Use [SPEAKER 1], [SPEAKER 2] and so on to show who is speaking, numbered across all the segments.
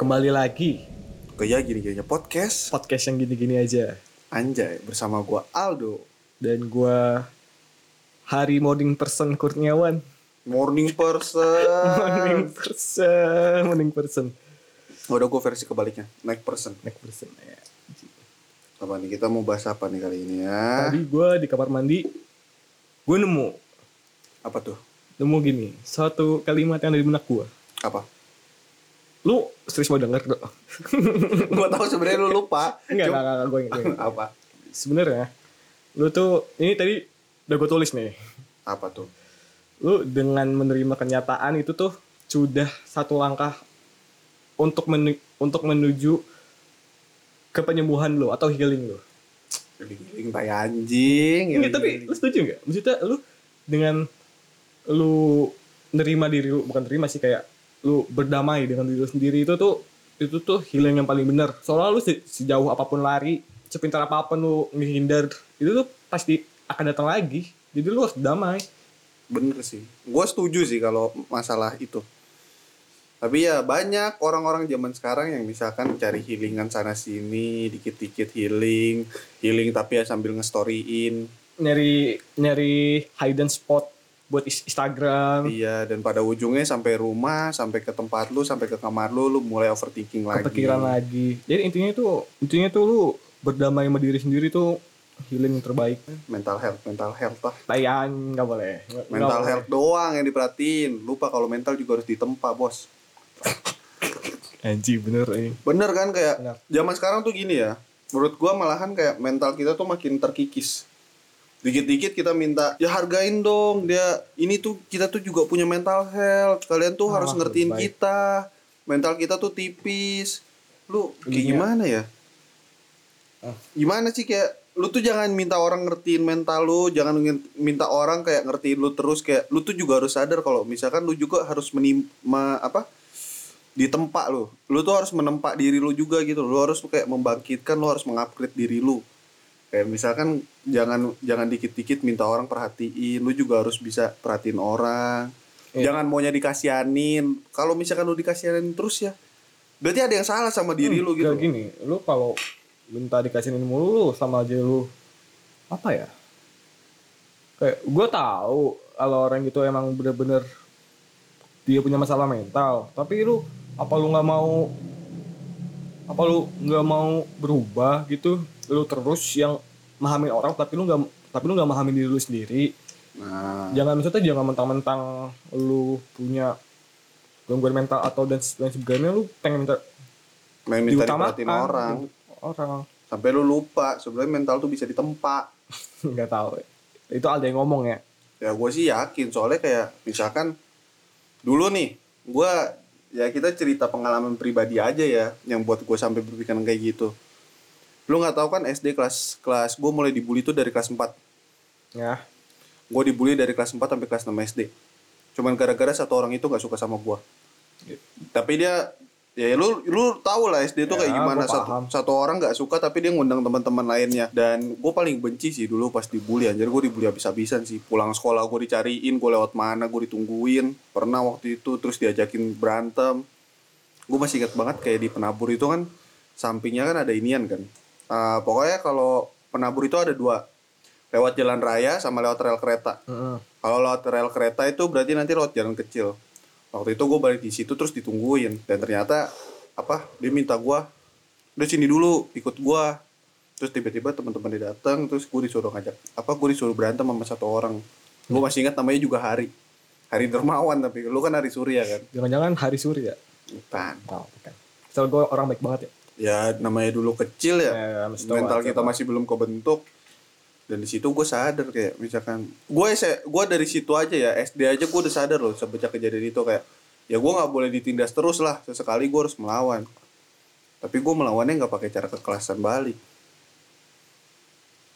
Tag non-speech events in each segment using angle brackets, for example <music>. [SPEAKER 1] kembali lagi
[SPEAKER 2] Gaya gini-gini podcast
[SPEAKER 1] podcast yang gini-gini aja
[SPEAKER 2] Anjay bersama gua Aldo
[SPEAKER 1] dan gua Hari Morning Person Kurniawan
[SPEAKER 2] Morning person
[SPEAKER 1] <laughs> Morning Person Morning Person
[SPEAKER 2] Udah gua versi kebaliknya Night person
[SPEAKER 1] Next person ya.
[SPEAKER 2] Apa nih kita mau bahas apa nih kali ini ya
[SPEAKER 1] Tadi gua di kamar mandi Gue nemu
[SPEAKER 2] Apa tuh?
[SPEAKER 1] Nemu gini Suatu kalimat yang dari benak gua
[SPEAKER 2] Apa? <laughs>
[SPEAKER 1] Lu serius mau denger dok?
[SPEAKER 2] gua tahu sebenarnya lu lupa
[SPEAKER 1] Enggak,
[SPEAKER 2] Cuma-
[SPEAKER 1] enggak, enggak, gue ingat, gua ingat.
[SPEAKER 2] Apa?
[SPEAKER 1] <laughs> Sebenernya Lu tuh Ini tadi udah gue tulis nih
[SPEAKER 2] Apa tuh?
[SPEAKER 1] lu dengan menerima kenyataan itu tuh sudah satu langkah untuk menu- untuk menuju ke penyembuhan lu atau healing lu.
[SPEAKER 2] Giling tai anjing
[SPEAKER 1] Enggak, tapi
[SPEAKER 2] iya.
[SPEAKER 1] lu setuju nggak? Maksudnya lu dengan lu nerima diri lu bukan terima sih kayak lu berdamai dengan diri lu sendiri itu tuh itu tuh healing yang paling benar. Soalnya lu se- sejauh apapun lari, sepintar apapun lu menghindar, itu tuh pasti akan datang lagi. Jadi lu harus damai.
[SPEAKER 2] Bener sih Gua setuju sih kalau masalah itu tapi ya banyak orang-orang zaman sekarang yang misalkan cari healingan sana sini, dikit-dikit healing, healing tapi ya sambil ngestoryin,
[SPEAKER 1] nyari nyari hidden spot buat is- Instagram
[SPEAKER 2] Iya, dan pada ujungnya sampai rumah, sampai ke tempat lu, sampai ke kamar lu, lu mulai overthinking lagi.
[SPEAKER 1] kepikiran lagi jadi intinya itu intinya tuh lu berdamai sama diri sendiri tuh healing yang terbaik
[SPEAKER 2] Mental health, mental health lah.
[SPEAKER 1] tayan nggak boleh Nggak- nggak
[SPEAKER 2] Mental
[SPEAKER 1] boleh.
[SPEAKER 2] health doang yang diperhatiin. Lupa kalau mental juga harus ditempa, bos.
[SPEAKER 1] anji bener eh. ini
[SPEAKER 2] Bener kan kayak
[SPEAKER 1] Bener.
[SPEAKER 2] zaman sekarang tuh gini ya. Menurut gua malahan kayak mental kita tuh makin terkikis. Dikit-dikit kita minta, ya hargain dong dia. Ini tuh kita tuh juga punya mental health. Kalian tuh harus
[SPEAKER 1] Ah,
[SPEAKER 2] ngertiin
[SPEAKER 1] baik.
[SPEAKER 2] kita. Mental kita tuh tipis. Lu kayak
[SPEAKER 1] Intinya-
[SPEAKER 2] gimana ya?
[SPEAKER 1] Ah.
[SPEAKER 2] Gimana sih kayak lu tuh jangan minta orang ngertiin mental lu, jangan ngin- minta orang kayak ngertiin lu terus kayak lu tuh juga harus sadar kalau misalkan lu juga harus menim me- apa? di tempat lu. Lu tuh harus menempa diri lu juga gitu. Lu harus kayak membangkitkan, lu harus mengupgrade diri lu. Kayak misalkan jangan jangan dikit-dikit minta orang perhatiin, lu juga harus bisa perhatiin orang.
[SPEAKER 1] Iya.
[SPEAKER 2] Jangan maunya dikasianin. Kalau misalkan lu dikasianin terus ya, berarti ada yang salah sama diri lu gitu.
[SPEAKER 1] Hmm, Kayak gini lu kalau minta dikasihin mulu lu sama aja lu apa ya kayak gue tahu kalau orang gitu emang bener-bener dia punya masalah mental tapi lu apa lu nggak mau apa lu nggak mau berubah gitu lu terus yang memahami orang tapi lu nggak tapi lu nggak memahami diri lu sendiri
[SPEAKER 2] Nah,
[SPEAKER 1] jangan maksudnya jangan mentang-mentang lu punya gangguan mental atau dan lain sebagainya lu pengen minta
[SPEAKER 2] main minta diperhatiin orang,
[SPEAKER 1] Ah, oh, orang <laughs>
[SPEAKER 2] sampai lu lupa sebenarnya mental tuh bisa ditempa.
[SPEAKER 1] nggak tahu itu ada yang ngomong ya
[SPEAKER 2] ya gue sih yakin soalnya kayak misalkan dulu nih gue ya kita cerita pengalaman pribadi aja ya yang buat gue sampai berpikiran kayak gitu lu nggak tahu kan SD kelas kelas gue mulai dibully tuh dari kelas 4
[SPEAKER 1] ya
[SPEAKER 2] gue dibully dari kelas 4 sampai kelas 6 SD cuman gara-gara satu orang itu nggak suka sama gue
[SPEAKER 1] Iya.
[SPEAKER 2] tapi dia ya lu lu tahu lah SD tuh
[SPEAKER 1] Ya,
[SPEAKER 2] kayak gimana
[SPEAKER 1] gua paham.
[SPEAKER 2] satu, satu orang nggak suka tapi dia ngundang teman-teman lainnya dan gue paling benci sih dulu pas dibully anjir gue dibully habis-habisan sih pulang sekolah gue dicariin gue lewat mana gue ditungguin pernah waktu itu terus diajakin berantem gue masih ingat banget kayak di penabur itu kan sampingnya kan ada inian kan Ah, pokoknya kalau penabur itu ada dua lewat jalan raya sama lewat rel kereta
[SPEAKER 1] Mm-mm.
[SPEAKER 2] kalau lewat rel kereta itu berarti nanti lewat jalan kecil. Waktu itu gue balik di situ terus ditungguin dan ternyata apa dia minta gue udah sini dulu ikut gue terus tiba-tiba teman-teman dia datang terus gue disuruh ngajak apa gue disuruh berantem sama satu orang gue masih ingat namanya juga Hari Hari Dermawan tapi lu kan Hari Surya kan
[SPEAKER 1] jangan-jangan hari surya
[SPEAKER 2] bukan
[SPEAKER 1] tahu kan soal gue orang baik banget ya
[SPEAKER 2] ya namanya dulu kecil ya
[SPEAKER 1] Ya, ya, mesti
[SPEAKER 2] mental
[SPEAKER 1] tahu,
[SPEAKER 2] kita
[SPEAKER 1] tahu.
[SPEAKER 2] masih belum kebentuk dan di situ gue sadar kayak misalkan gue gue dari situ aja ya SD aja gue udah sadar loh sejak kejadian itu kayak ya gue nggak boleh ditindas terus lah sesekali gue harus melawan tapi gue melawannya nggak pakai cara kekerasan balik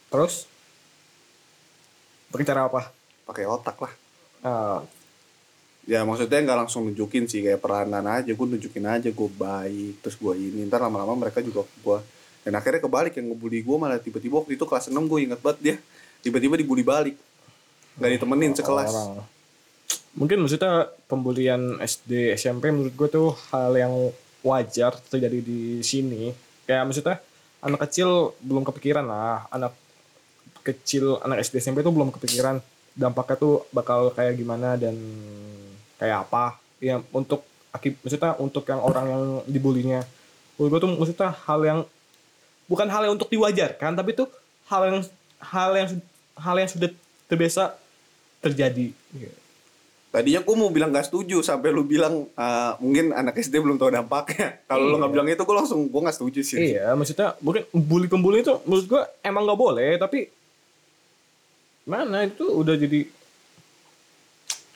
[SPEAKER 1] terus pakai cara apa
[SPEAKER 2] pakai otak lah
[SPEAKER 1] Ah,
[SPEAKER 2] ya maksudnya nggak langsung nunjukin sih kayak peranan aja gue nunjukin aja gue baik terus gue ini ntar lama-lama mereka juga ke gue dan akhirnya kebalik yang ngebully gue malah tiba-tiba waktu itu kelas 6 gue inget banget dia tiba-tiba dibully balik nggak ditemenin sekelas
[SPEAKER 1] orang mungkin maksudnya pembulian SD SMP menurut gue tuh hal yang wajar terjadi di sini kayak maksudnya anak kecil belum kepikiran lah anak kecil anak SD SMP itu belum kepikiran dampaknya tuh bakal kayak gimana dan kayak apa ya untuk akib maksudnya untuk yang orang yang dibulinya menurut gue tuh maksudnya hal yang bukan hal yang untuk diwajarkan tapi itu hal yang hal yang hal yang sudah terbiasa terjadi
[SPEAKER 2] Tadinya gue mau bilang gak setuju sampai lu bilang eh, mungkin anak SD belum tahu dampaknya. <laughs> Kalau lu nggak bilang itu gue langsung gue nggak setuju sih.
[SPEAKER 1] Iya, maksudnya mungkin bully pembuli itu menurut gua emang nggak boleh, tapi mana itu udah jadi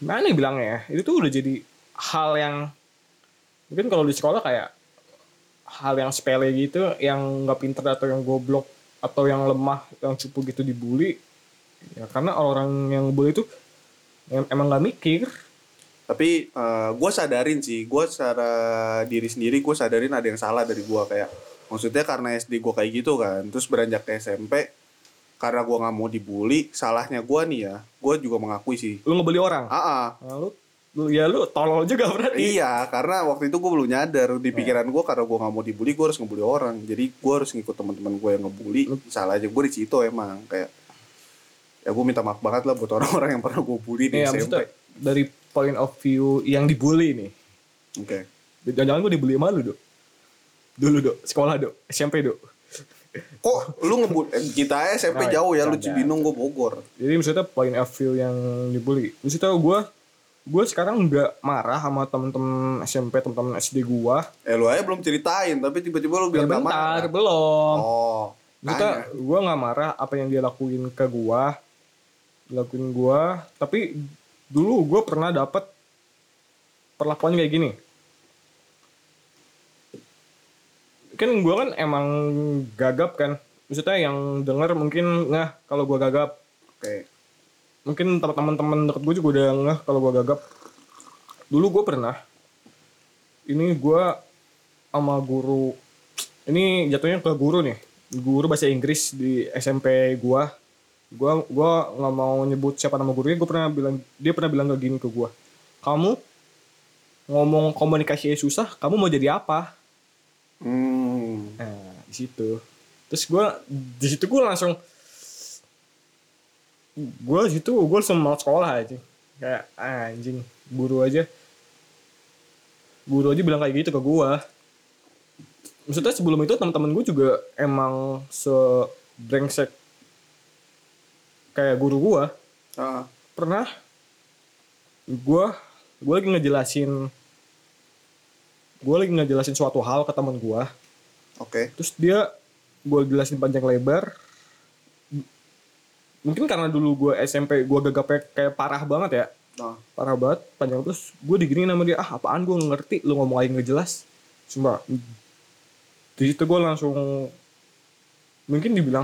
[SPEAKER 1] mana ya bilangnya ya? Itu tuh udah jadi hal yang mungkin kalau di sekolah kayak hal yang sepele gitu, yang nggak pinter atau yang goblok atau yang lemah, yang cupu gitu dibully. Ya karena orang yang bully itu em- emang nggak mikir.
[SPEAKER 2] Tapi gue sadarin sih, gue secara diri sendiri gue sadarin ada yang salah dari gue kayak. Maksudnya karena SD gue kayak gitu kan, terus beranjak ke SMP karena gue nggak mau dibully, salahnya gue nih ya, gue juga mengakui sih.
[SPEAKER 1] Lu ngebully orang.
[SPEAKER 2] Ah, ah.
[SPEAKER 1] Nah, lu, lu ya lu tolol juga berarti.
[SPEAKER 2] Iya, karena waktu itu gue belum nyadar di
[SPEAKER 1] Nah.
[SPEAKER 2] pikiran gue karena gue nggak mau dibully, gue harus ngebully orang. Jadi gue harus ngikut teman-teman gue yang ngebully. Salah aja gue di situ emang kayak ya gue minta maaf banget lah buat orang-orang yang pernah gue bully di
[SPEAKER 1] Iya,
[SPEAKER 2] SMP.
[SPEAKER 1] maksudnya dari point of view yang dibully nih.
[SPEAKER 2] Oke.
[SPEAKER 1] Jangan-jangan gue dibully sama lu, Dok. Dulu, Dok. Sekolah, Dok. SMP, Dok.
[SPEAKER 2] Kok lu ngebul eh, kita
[SPEAKER 1] Nah,
[SPEAKER 2] SMP jauh ya lu
[SPEAKER 1] bercanda.
[SPEAKER 2] Cibinong gue Bogor.
[SPEAKER 1] Jadi maksudnya point of view yang dibully. Maksudnya gue gue sekarang nggak marah sama temen-temen SMP, temen-temen SD gue.
[SPEAKER 2] Eh lu aja belum ceritain tapi tiba-tiba lu
[SPEAKER 1] Ya,
[SPEAKER 2] bilang gak
[SPEAKER 1] bentar,
[SPEAKER 2] marah.
[SPEAKER 1] belum.
[SPEAKER 2] Oh.
[SPEAKER 1] Maksudnya gue nggak marah apa yang dia lakuin ke gue, lakuin gue. Tapi dulu gue pernah dapet perlakuan kayak gini. Kan gue kan emang gagap kan. Maksudnya yang denger mungkin nah kalau gue gagap.
[SPEAKER 2] Oke.
[SPEAKER 1] Mungkin teman-teman deket gue juga udah ngeh kalau gue gagap. Dulu gue pernah. Ini gue sama guru. Ini jatuhnya ke guru nih. Guru bahasa Inggris di SMP gue. Gue gua nggak mau nyebut siapa nama gurunya. Gue pernah bilang dia pernah bilang kayak gini ke gue. Kamu ngomong komunikasi susah. Kamu mau jadi apa?
[SPEAKER 2] Hmm.
[SPEAKER 1] Nah, di situ. Terus gue di situ gue langsung gue di situ gue langsung mau sekolah aja. Kayak "Ah, anjing, guru aja. Guru aja bilang kayak gitu ke gue. Maksudnya sebelum itu teman-teman gue juga emang sebrengsek kayak guru gue
[SPEAKER 2] Ah.
[SPEAKER 1] pernah gue gue lagi ngejelasin gue lagi ngejelasin suatu hal ke teman gue
[SPEAKER 2] Oke.
[SPEAKER 1] terus dia gue jelasin panjang lebar M- mungkin karena dulu gue SMP gue gagapnya kayak parah banget ya
[SPEAKER 2] Nah.
[SPEAKER 1] parah banget panjang terus gue digini sama dia ah apaan gue ngerti lu ngomong aja nggak jelas cuma di situ gue langsung mungkin dibilang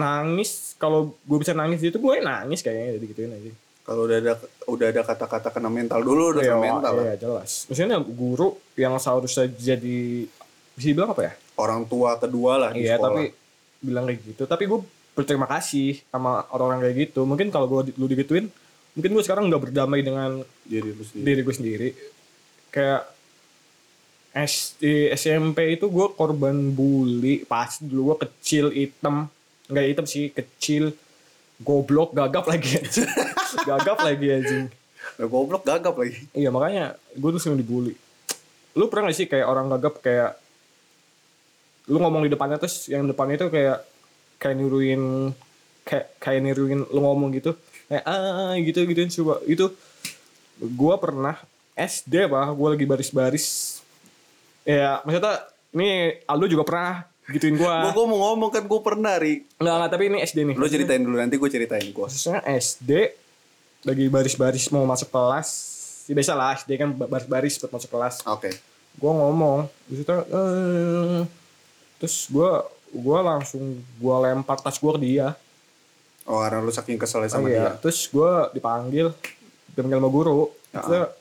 [SPEAKER 1] nangis kalau gue bisa nangis di situ gue nangis kayaknya jadi gituin aja
[SPEAKER 2] Kalau udah ada udah ada kata-kata kena mental dulu udah
[SPEAKER 1] Iya,
[SPEAKER 2] kena mental. lah.
[SPEAKER 1] iya jelas maksudnya guru yang seharusnya jadi bisa dibilang apa ya
[SPEAKER 2] Orang tua kedua lah di
[SPEAKER 1] Iya
[SPEAKER 2] sekolah.
[SPEAKER 1] tapi bilang kayak gitu tapi gue berterima kasih sama orang-orang kayak gitu mungkin kalau gue lu digituin mungkin gue sekarang nggak berdamai dengan
[SPEAKER 2] diri lu sendiri.
[SPEAKER 1] diri gue sendiri kayak SD SMP itu gue korban bully pas dulu gue kecil hitam nggak hitam sih kecil goblok gagap lagi anjing. <laughs> gagap lagi anjing
[SPEAKER 2] Nah, goblok gagap lagi.
[SPEAKER 1] Iya makanya gue tuh sering dibully. Lu pernah gak sih kayak orang gagap kayak lu ngomong di depannya terus yang depannya itu kayak kayak niruin kayak kayak niruin lu ngomong gitu kayak ah gitu gitu coba itu gue pernah SD pak gue lagi baris-baris ya maksudnya ini Aldo juga pernah gituin gue
[SPEAKER 2] Gue mau ngomong kan gue pernah ri.
[SPEAKER 1] nggak nggak tapi ini SD nih
[SPEAKER 2] Lu ceritain dulu nanti gue ceritain gue.
[SPEAKER 1] maksudnya SD lagi baris-baris mau masuk kelas ya biasa lah SD kan baris-baris buat masuk kelas
[SPEAKER 2] Oke.
[SPEAKER 1] gue ngomong di situ eh, terus gue gue langsung gue lempar tas gue ke dia
[SPEAKER 2] Oh karena lu saking kesel sama
[SPEAKER 1] Iya.
[SPEAKER 2] dia.
[SPEAKER 1] terus gue dipanggil dipanggil sama guru Terus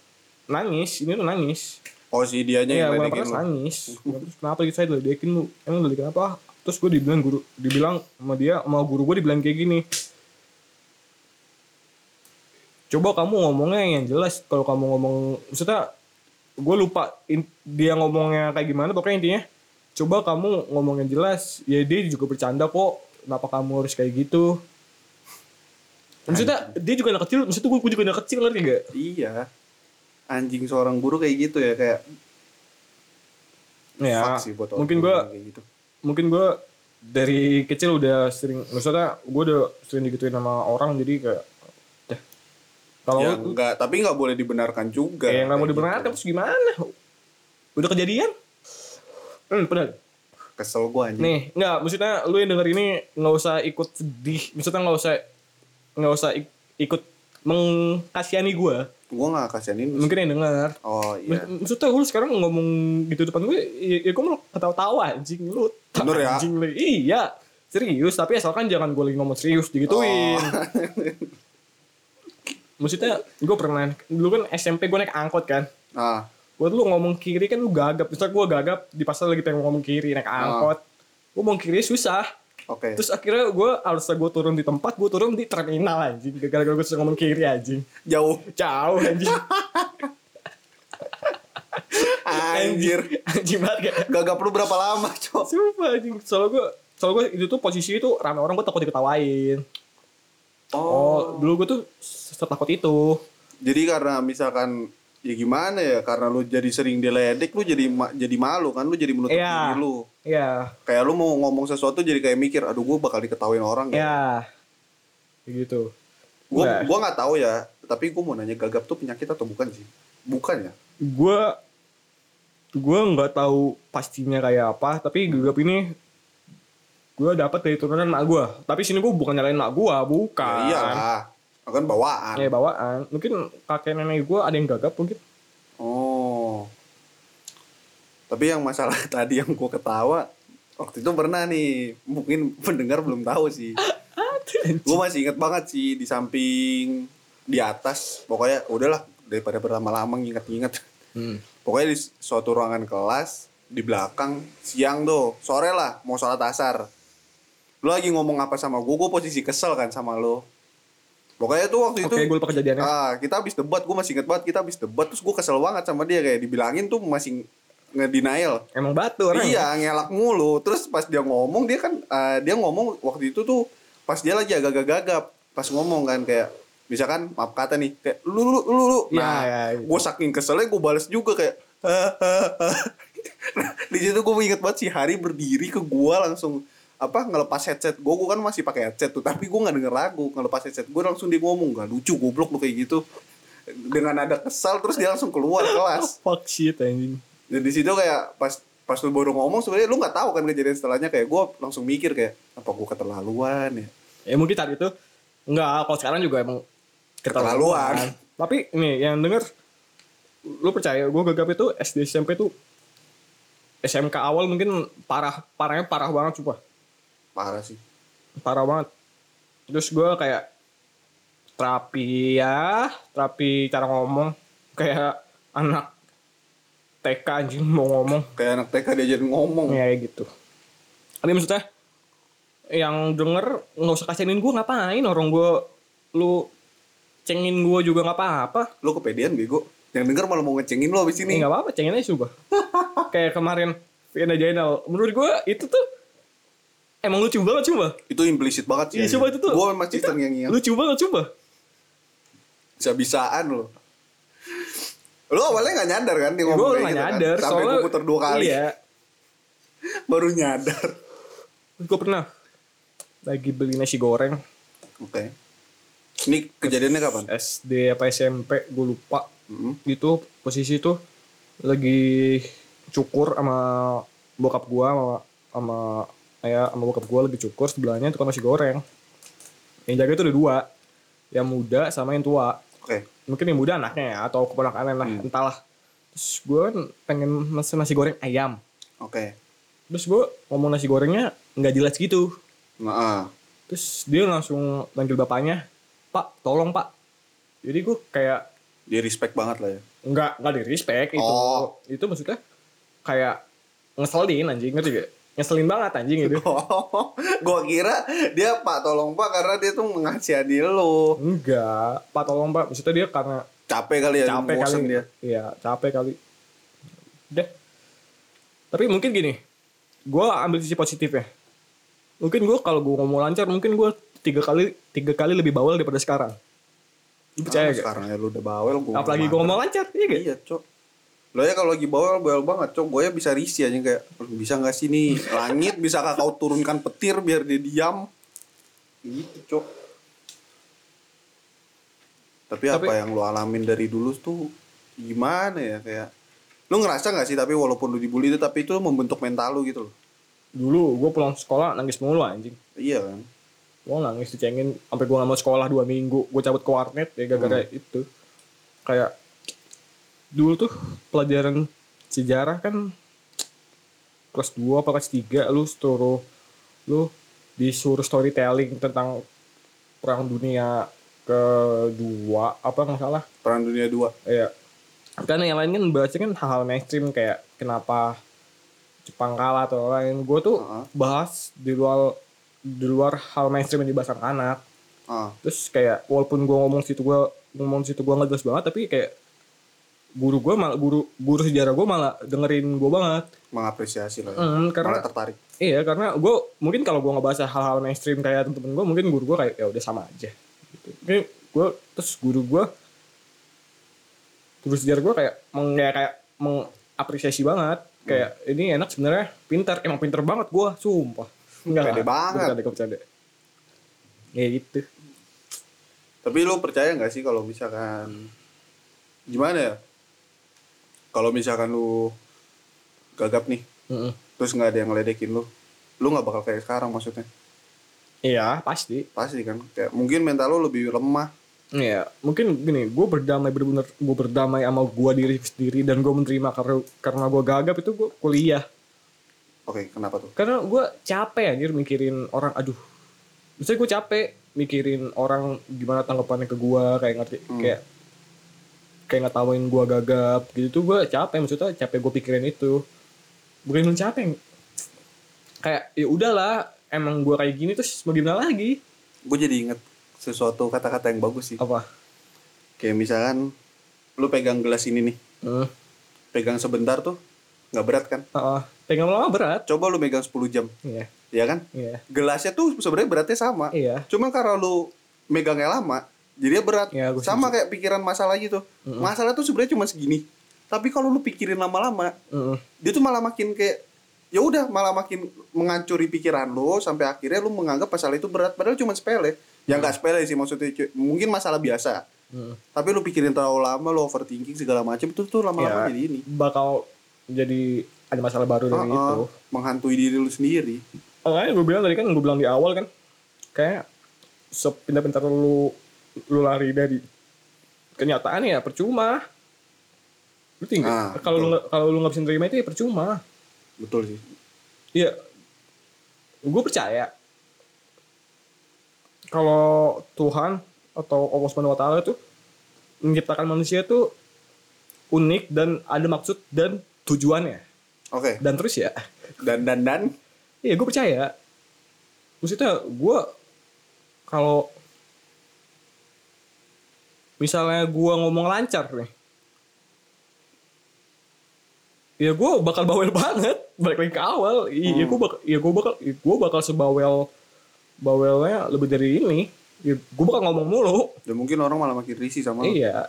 [SPEAKER 1] nangis ini tuh nangis
[SPEAKER 2] Oh si dianya
[SPEAKER 1] Iya,
[SPEAKER 2] yang
[SPEAKER 1] gue
[SPEAKER 2] ledekin
[SPEAKER 1] pernah
[SPEAKER 2] lu. <laughs>
[SPEAKER 1] nangis. Gua Terus kenapa gitu saya diledekin lu? Emang diledekin apa? Ah, Terus gue dibilang guru, dibilang sama dia, sama guru gue dibilang kayak gini. Coba kamu ngomongnya yang jelas. Kalau kamu ngomong, maksudnya gue lupa in- dia ngomongnya kayak gimana pokoknya intinya coba kamu ngomongnya jelas ya dia juga bercanda kok kenapa kamu harus kayak gitu maksudnya dia juga anak kecil maksudnya gue juga anak kecil ngerti gak
[SPEAKER 2] Iya. Anjing seorang guru kayak gitu ya kayak
[SPEAKER 1] ya
[SPEAKER 2] fuck sih buat orang
[SPEAKER 1] mungkin
[SPEAKER 2] guru
[SPEAKER 1] gue
[SPEAKER 2] kayak gitu.
[SPEAKER 1] mungkin gue dari kecil udah sering maksudnya gue udah sering digituin sama orang jadi kayak "Dah, kalau
[SPEAKER 2] Ya, enggak, tapi enggak boleh dibenarkan juga.
[SPEAKER 1] kayak yang nggak mau
[SPEAKER 2] Kayak
[SPEAKER 1] dibenarkan
[SPEAKER 2] gitu.
[SPEAKER 1] terus gimana udah kejadian hmm, pedas
[SPEAKER 2] Kesel gua anjing.
[SPEAKER 1] nih nggak maksudnya lu yang denger ini nggak usah ikut sedih maksudnya nggak usah nggak usah ik- ikut mengkasihani gue
[SPEAKER 2] Gua enggak kasihanin.
[SPEAKER 1] mungkin yang denger
[SPEAKER 2] Oh iya.
[SPEAKER 1] Maksud- Maksudnya lu sekarang ngomong gitu depan gue, ya, ya gue mau ketawa-tawa anjing lu.
[SPEAKER 2] Bener ya?
[SPEAKER 1] Anjing lu. Iya. Serius, tapi asalkan jangan gue lagi ngomong serius digituin.
[SPEAKER 2] Oh.
[SPEAKER 1] Maksudnya gue pernah, dulu kan SMP gue naik angkot kan.
[SPEAKER 2] <laughs> Ah,
[SPEAKER 1] Gue dulu ngomong kiri kan lu gagap. Misalnya gue gagap di pasar lagi pengen ngomong kiri naik angkot. Gue ngomong kiri susah.
[SPEAKER 2] Oh. oke.
[SPEAKER 1] Terus akhirnya gue harusnya gue turun di tempat, gue turun di terminal anjing. Gara-gara gue ngomong kiri anjing.
[SPEAKER 2] Jauh.
[SPEAKER 1] Jauh anjing.
[SPEAKER 2] <laughs> Anjir.
[SPEAKER 1] anjing banget gak?
[SPEAKER 2] Gagap lu berapa lama, Cok?
[SPEAKER 1] Sumpah anjing. Soalnya gue soalnya gue itu tuh posisi itu rame orang gue takut diketawain. Oh, dulu gue tuh setakut itu.
[SPEAKER 2] Jadi karena misalkan ya gimana ya karena lu jadi sering diledek lu jadi ma- jadi malu kan lu jadi menutup
[SPEAKER 1] Iya.
[SPEAKER 2] diri lu
[SPEAKER 1] Iya,
[SPEAKER 2] kayak lu mau ngomong sesuatu jadi kayak mikir aduh gua bakal diketawain orang ya
[SPEAKER 1] iya. Kayak gitu.
[SPEAKER 2] gua
[SPEAKER 1] Nah.
[SPEAKER 2] gua nggak tahu ya tapi gua mau nanya gagap tuh penyakit atau bukan sih bukan ya
[SPEAKER 1] Gue gue nggak tahu pastinya kayak apa, tapi gegap ini gue dapat dari turunan mak gue. Tapi sini gue bukan nyalain mak gue, bukan.
[SPEAKER 2] ya, iyalah kan bawaan
[SPEAKER 1] Kayak bawaan. Mungkin kakek nenek gue ada yang gagap mungkin.
[SPEAKER 2] Oh. Tapi yang masalah <laughs> tadi yang gua ketawa waktu itu pernah nih, mungkin pendengar belum tahu sih. gua masih inget banget sih di samping di atas, pokoknya udahlah daripada berlama-lama nginget-nginget. <laughs> Pokoknya di suatu ruangan kelas di belakang siang tuh, sore lah mau sholat asar. Lu lagi ngomong apa sama gua? Gua posisi kesel kan sama lu. Pokoknya tuh waktu
[SPEAKER 1] Oke,
[SPEAKER 2] itu
[SPEAKER 1] gue lupa kejadiannya.
[SPEAKER 2] Ah, kita habis debat, gue masih inget banget kita habis debat terus gue kesel banget sama dia kayak dibilangin tuh masih ngedenial.
[SPEAKER 1] Emang batu orang. ya.
[SPEAKER 2] Iya, ngelak mulu. Terus pas dia ngomong dia kan eh, dia ngomong waktu itu tuh pas dia lagi agak gagap pas ngomong kan kayak misalkan maaf kata nih kayak lu lu lu lu.
[SPEAKER 1] Iya,
[SPEAKER 2] Nah,
[SPEAKER 1] iya, iya.
[SPEAKER 2] gue saking keselnya gue balas juga kayak Nah, di situ gue inget banget si Hari berdiri ke gue langsung apa ngelepas headset gue gue kan masih pakai headset tuh tapi gue nggak denger lagu ngelepas headset gue langsung dia ngomong gak lucu goblok lu kayak gitu dengan ada kesal terus dia langsung keluar kelas
[SPEAKER 1] Fuck shit anjing.
[SPEAKER 2] dan di situ kayak pas pas lu baru ngomong sebenarnya lu nggak tahu kan kejadian setelahnya kayak gue langsung mikir kayak apa gue keterlaluan ya
[SPEAKER 1] Ya mungkin saat itu enggak, kalau sekarang juga emang kan.
[SPEAKER 2] Keterlaluan.
[SPEAKER 1] Tapi nih yang denger lu percaya gue gagap itu SD SMP tuh SMK awal mungkin parah parahnya parah banget sumpah.
[SPEAKER 2] parah sih
[SPEAKER 1] Parah banget. Terus gue kayak terapi ya, terapi cara ngomong kayak anak TK anjing mau ngomong
[SPEAKER 2] kayak anak TK diajarin ngomong
[SPEAKER 1] ya kayak gitu. Tapi maksudnya yang denger nggak usah kasihanin gue ngapain orang gue lu cengin gue juga nggak apa-apa.
[SPEAKER 2] lu kepedean bego yang denger malah mau ngecengin lu abis
[SPEAKER 1] Ini
[SPEAKER 2] ini
[SPEAKER 1] nggak apa-apa cengin aja
[SPEAKER 2] <laughs>
[SPEAKER 1] juga. kayak kemarin Vienna Jainal. Menurut gue itu tuh emang lucu banget coba.
[SPEAKER 2] itu implisit banget sih
[SPEAKER 1] Iya coba itu tuh.
[SPEAKER 2] gue masih sering yang ingat
[SPEAKER 1] Lucu banget coba.
[SPEAKER 2] bisa bisaan lo lu awalnya nggak nyadar kan dia
[SPEAKER 1] Gue
[SPEAKER 2] ngomong kayak
[SPEAKER 1] nggak
[SPEAKER 2] gitu kan?
[SPEAKER 1] nyadar.
[SPEAKER 2] sampai gue puter dua kali
[SPEAKER 1] Iya.
[SPEAKER 2] <laughs> baru nyadar
[SPEAKER 1] Gue pernah lagi beli nasi goreng
[SPEAKER 2] oke ini kejadiannya kapan
[SPEAKER 1] SD apa SMP gue lupa.
[SPEAKER 2] Mm-mm.
[SPEAKER 1] itu posisi itu lagi cukur sama bokap gua sama sama ayah sama bokap gua lagi cukur sebelahnya tukang nasi goreng yang jaga itu ada dua yang muda sama yang tua
[SPEAKER 2] oke
[SPEAKER 1] mungkin yang muda anaknya ya, atau keponakannya lah entahlah terus gua kan pengen mesen nasi goreng ayam
[SPEAKER 2] oke
[SPEAKER 1] terus gua ngomong nasi gorengnya nggak jelas gitu
[SPEAKER 2] nah ah.
[SPEAKER 1] terus dia langsung panggil bapaknya pak tolong pak jadi gua kayak
[SPEAKER 2] dia respect banget lah ya
[SPEAKER 1] nggak nggak di respect itu
[SPEAKER 2] Oh.
[SPEAKER 1] itu maksudnya kayak ngeselin anjing ngerti gak ngeselin banget anjing gitu. itu
[SPEAKER 2] <laughs> Oh, gua kira dia Pak tolong Pak karena dia tuh mengasihani lo.
[SPEAKER 1] enggak pak tolong pak maksudnya dia karena
[SPEAKER 2] Capek kali ya,
[SPEAKER 1] capek
[SPEAKER 2] bosen
[SPEAKER 1] kali
[SPEAKER 2] dia.
[SPEAKER 1] iya capek kali udah tapi mungkin gini gue ambil sisi positifnya mungkin gue kalau gue ngomong lancar mungkin gue tiga kali tiga kali lebih bawel daripada sekarang Lu percaya
[SPEAKER 2] Percaya
[SPEAKER 1] gak?
[SPEAKER 2] sekarang ya lu udah bawel gua.
[SPEAKER 1] apalagi gue
[SPEAKER 2] gua
[SPEAKER 1] ngomong lancar iya gak?
[SPEAKER 2] Iya, Cok. Lo ya kalau lagi bawel bawel banget, Cok. Gue ya bisa risih aja kayak "Aduh, bisa nggak sih nih langit bisa kau turunkan petir biar dia diam. Gitu, Cok. Tapi,
[SPEAKER 1] Tapi-
[SPEAKER 2] apa yang lo alamin dari dulu tuh gimana ya kayak lu ngerasa nggak sih tapi walaupun lu dibully itu tapi itu membentuk mental lu gitu loh.
[SPEAKER 1] dulu gue pulang sekolah nangis mulu anjing
[SPEAKER 2] Iya kan?
[SPEAKER 1] gue nangis dicengin sampai gue gak mau sekolah dua minggu gue cabut ke warnet ya gara-gara itu kayak dulu tuh pelajaran sejarah kan kelas 2 apa kelas 3 lu suruh lu disuruh storytelling tentang perang dunia kedua apa nggak salah
[SPEAKER 2] Perang Dunia 2.
[SPEAKER 1] Iya. Kan yang lain kan bahasnya kan hal-hal mainstream kayak kenapa Jepang kalah atau lain. Gue tuh
[SPEAKER 2] Heeh.
[SPEAKER 1] bahas di luar di luar hal mainstream yang dibahas anak.
[SPEAKER 2] Ah,
[SPEAKER 1] Terus kayak walaupun gue ngomong situ gue ngomong situ gue nggak jelas banget tapi kayak guru gue malah guru guru sejarah gue malah dengerin gue banget.
[SPEAKER 2] mengapresiasi lah. ya.
[SPEAKER 1] Mm,
[SPEAKER 2] Malah
[SPEAKER 1] karena
[SPEAKER 2] tertarik.
[SPEAKER 1] iya karena gue mungkin kalau gue ngebahas hal-hal mainstream kayak temen-temen gue mungkin guru gue kayak ya udah sama aja gitu. Ini gue terus guru gue terus sejarah gue kayak meng, kayak, kayak mengapresiasi banget kayak ini enak sebenarnya pintar emang pintar banget gue sumpah enggak
[SPEAKER 2] Pede banget.
[SPEAKER 1] bercanda gua bercanda ya gitu
[SPEAKER 2] Tapi lu percaya nggak sih kalau misalkan gimana ya? Kalau misalkan lu gagap nih,
[SPEAKER 1] Mm-mm.
[SPEAKER 2] terus nggak ada yang ngeledekin lu, lu nggak bakal kayak sekarang maksudnya.
[SPEAKER 1] iya pasti
[SPEAKER 2] Pasti kan, kayak mungkin mental lu lebih lemah.
[SPEAKER 1] Iya, mungkin gini, gue berdamai bener-bener gue berdamai sama gue diri sendiri dan gue menerima karena karena gue gagap itu gue kuliah.
[SPEAKER 2] Oke, kenapa tuh?
[SPEAKER 1] karena gue capek anjir mikirin orang aduh misalnya gue capek mikirin orang gimana tanggapannya ke gue kayak ngerti kayak kayak ngetawain gue gagap gitu tuh gue capek maksudnya capek gue pikirin itu bukan cuma capek kayak ya udahlah emang gue kayak gini terus mau gimana lagi
[SPEAKER 2] Gue jadi inget sesuatu kata-kata yang bagus sih.
[SPEAKER 1] apa
[SPEAKER 2] Kayak misalkan lu pegang gelas ini nih,
[SPEAKER 1] hmm.
[SPEAKER 2] pegang sebentar tuh nggak berat kan?
[SPEAKER 1] ah, ah. pegang lama berat
[SPEAKER 2] Coba lu megang 10 jam,
[SPEAKER 1] iya
[SPEAKER 2] ya kan?
[SPEAKER 1] iya
[SPEAKER 2] Gelasnya tuh sebenarnya beratnya sama.
[SPEAKER 1] iya
[SPEAKER 2] Cuma karena lu megangnya lama, jadi berat.
[SPEAKER 1] Iya, gua
[SPEAKER 2] Sama kayak pikiran masalah gitu. Masalah tuh sebenarnya cuma segini. Tapi kalau lu pikirin lama-lama,
[SPEAKER 1] Mm.
[SPEAKER 2] dia tuh malah makin kayak ya udah malah makin menghancuri pikiran lu sampai akhirnya lu menganggap masalah itu berat padahal cuma sepele. Ya nggak sepele sih maksudnya cu- mungkin masalah biasa.
[SPEAKER 1] Mm.
[SPEAKER 2] Tapi lu pikirin terlalu lama, lu overthinking segala macam itu tuh lama-lama
[SPEAKER 1] Iya.
[SPEAKER 2] jadi ini.
[SPEAKER 1] bakal jadi ada masalah baru dari
[SPEAKER 2] Heeh,
[SPEAKER 1] itu
[SPEAKER 2] menghantui diri lu sendiri.
[SPEAKER 1] makanya gue bilang tadi kan gue bilang di awal kan kayak sepintar-pintar lu lu lari dari kenyataan ya percuma lu
[SPEAKER 2] Ah,
[SPEAKER 1] tinggal kalau lu nggak- kalau lu nggak bisa nerima itu ya percuma
[SPEAKER 2] Betul sih.
[SPEAKER 1] Iya gue percaya kalau Tuhan atau Allah Subhanahu Wa Taala itu menciptakan manusia itu unik dan ada maksud dan tujuannya
[SPEAKER 2] Oke.
[SPEAKER 1] dan terus ya
[SPEAKER 2] Dan dan dan
[SPEAKER 1] Iya gue percaya Maksudnya gue Kalau Misalnya gue ngomong lancar nih Ya gue bakal bawel <laughs> banget Balik lagi ke awal I- Ya gue bakal ya gua bakal, gue bakal sebawel Bawelnya lebih dari ini ya, Gue bakal ngomong mulu
[SPEAKER 2] dan mungkin orang malah makin risih sama lu.
[SPEAKER 1] Iya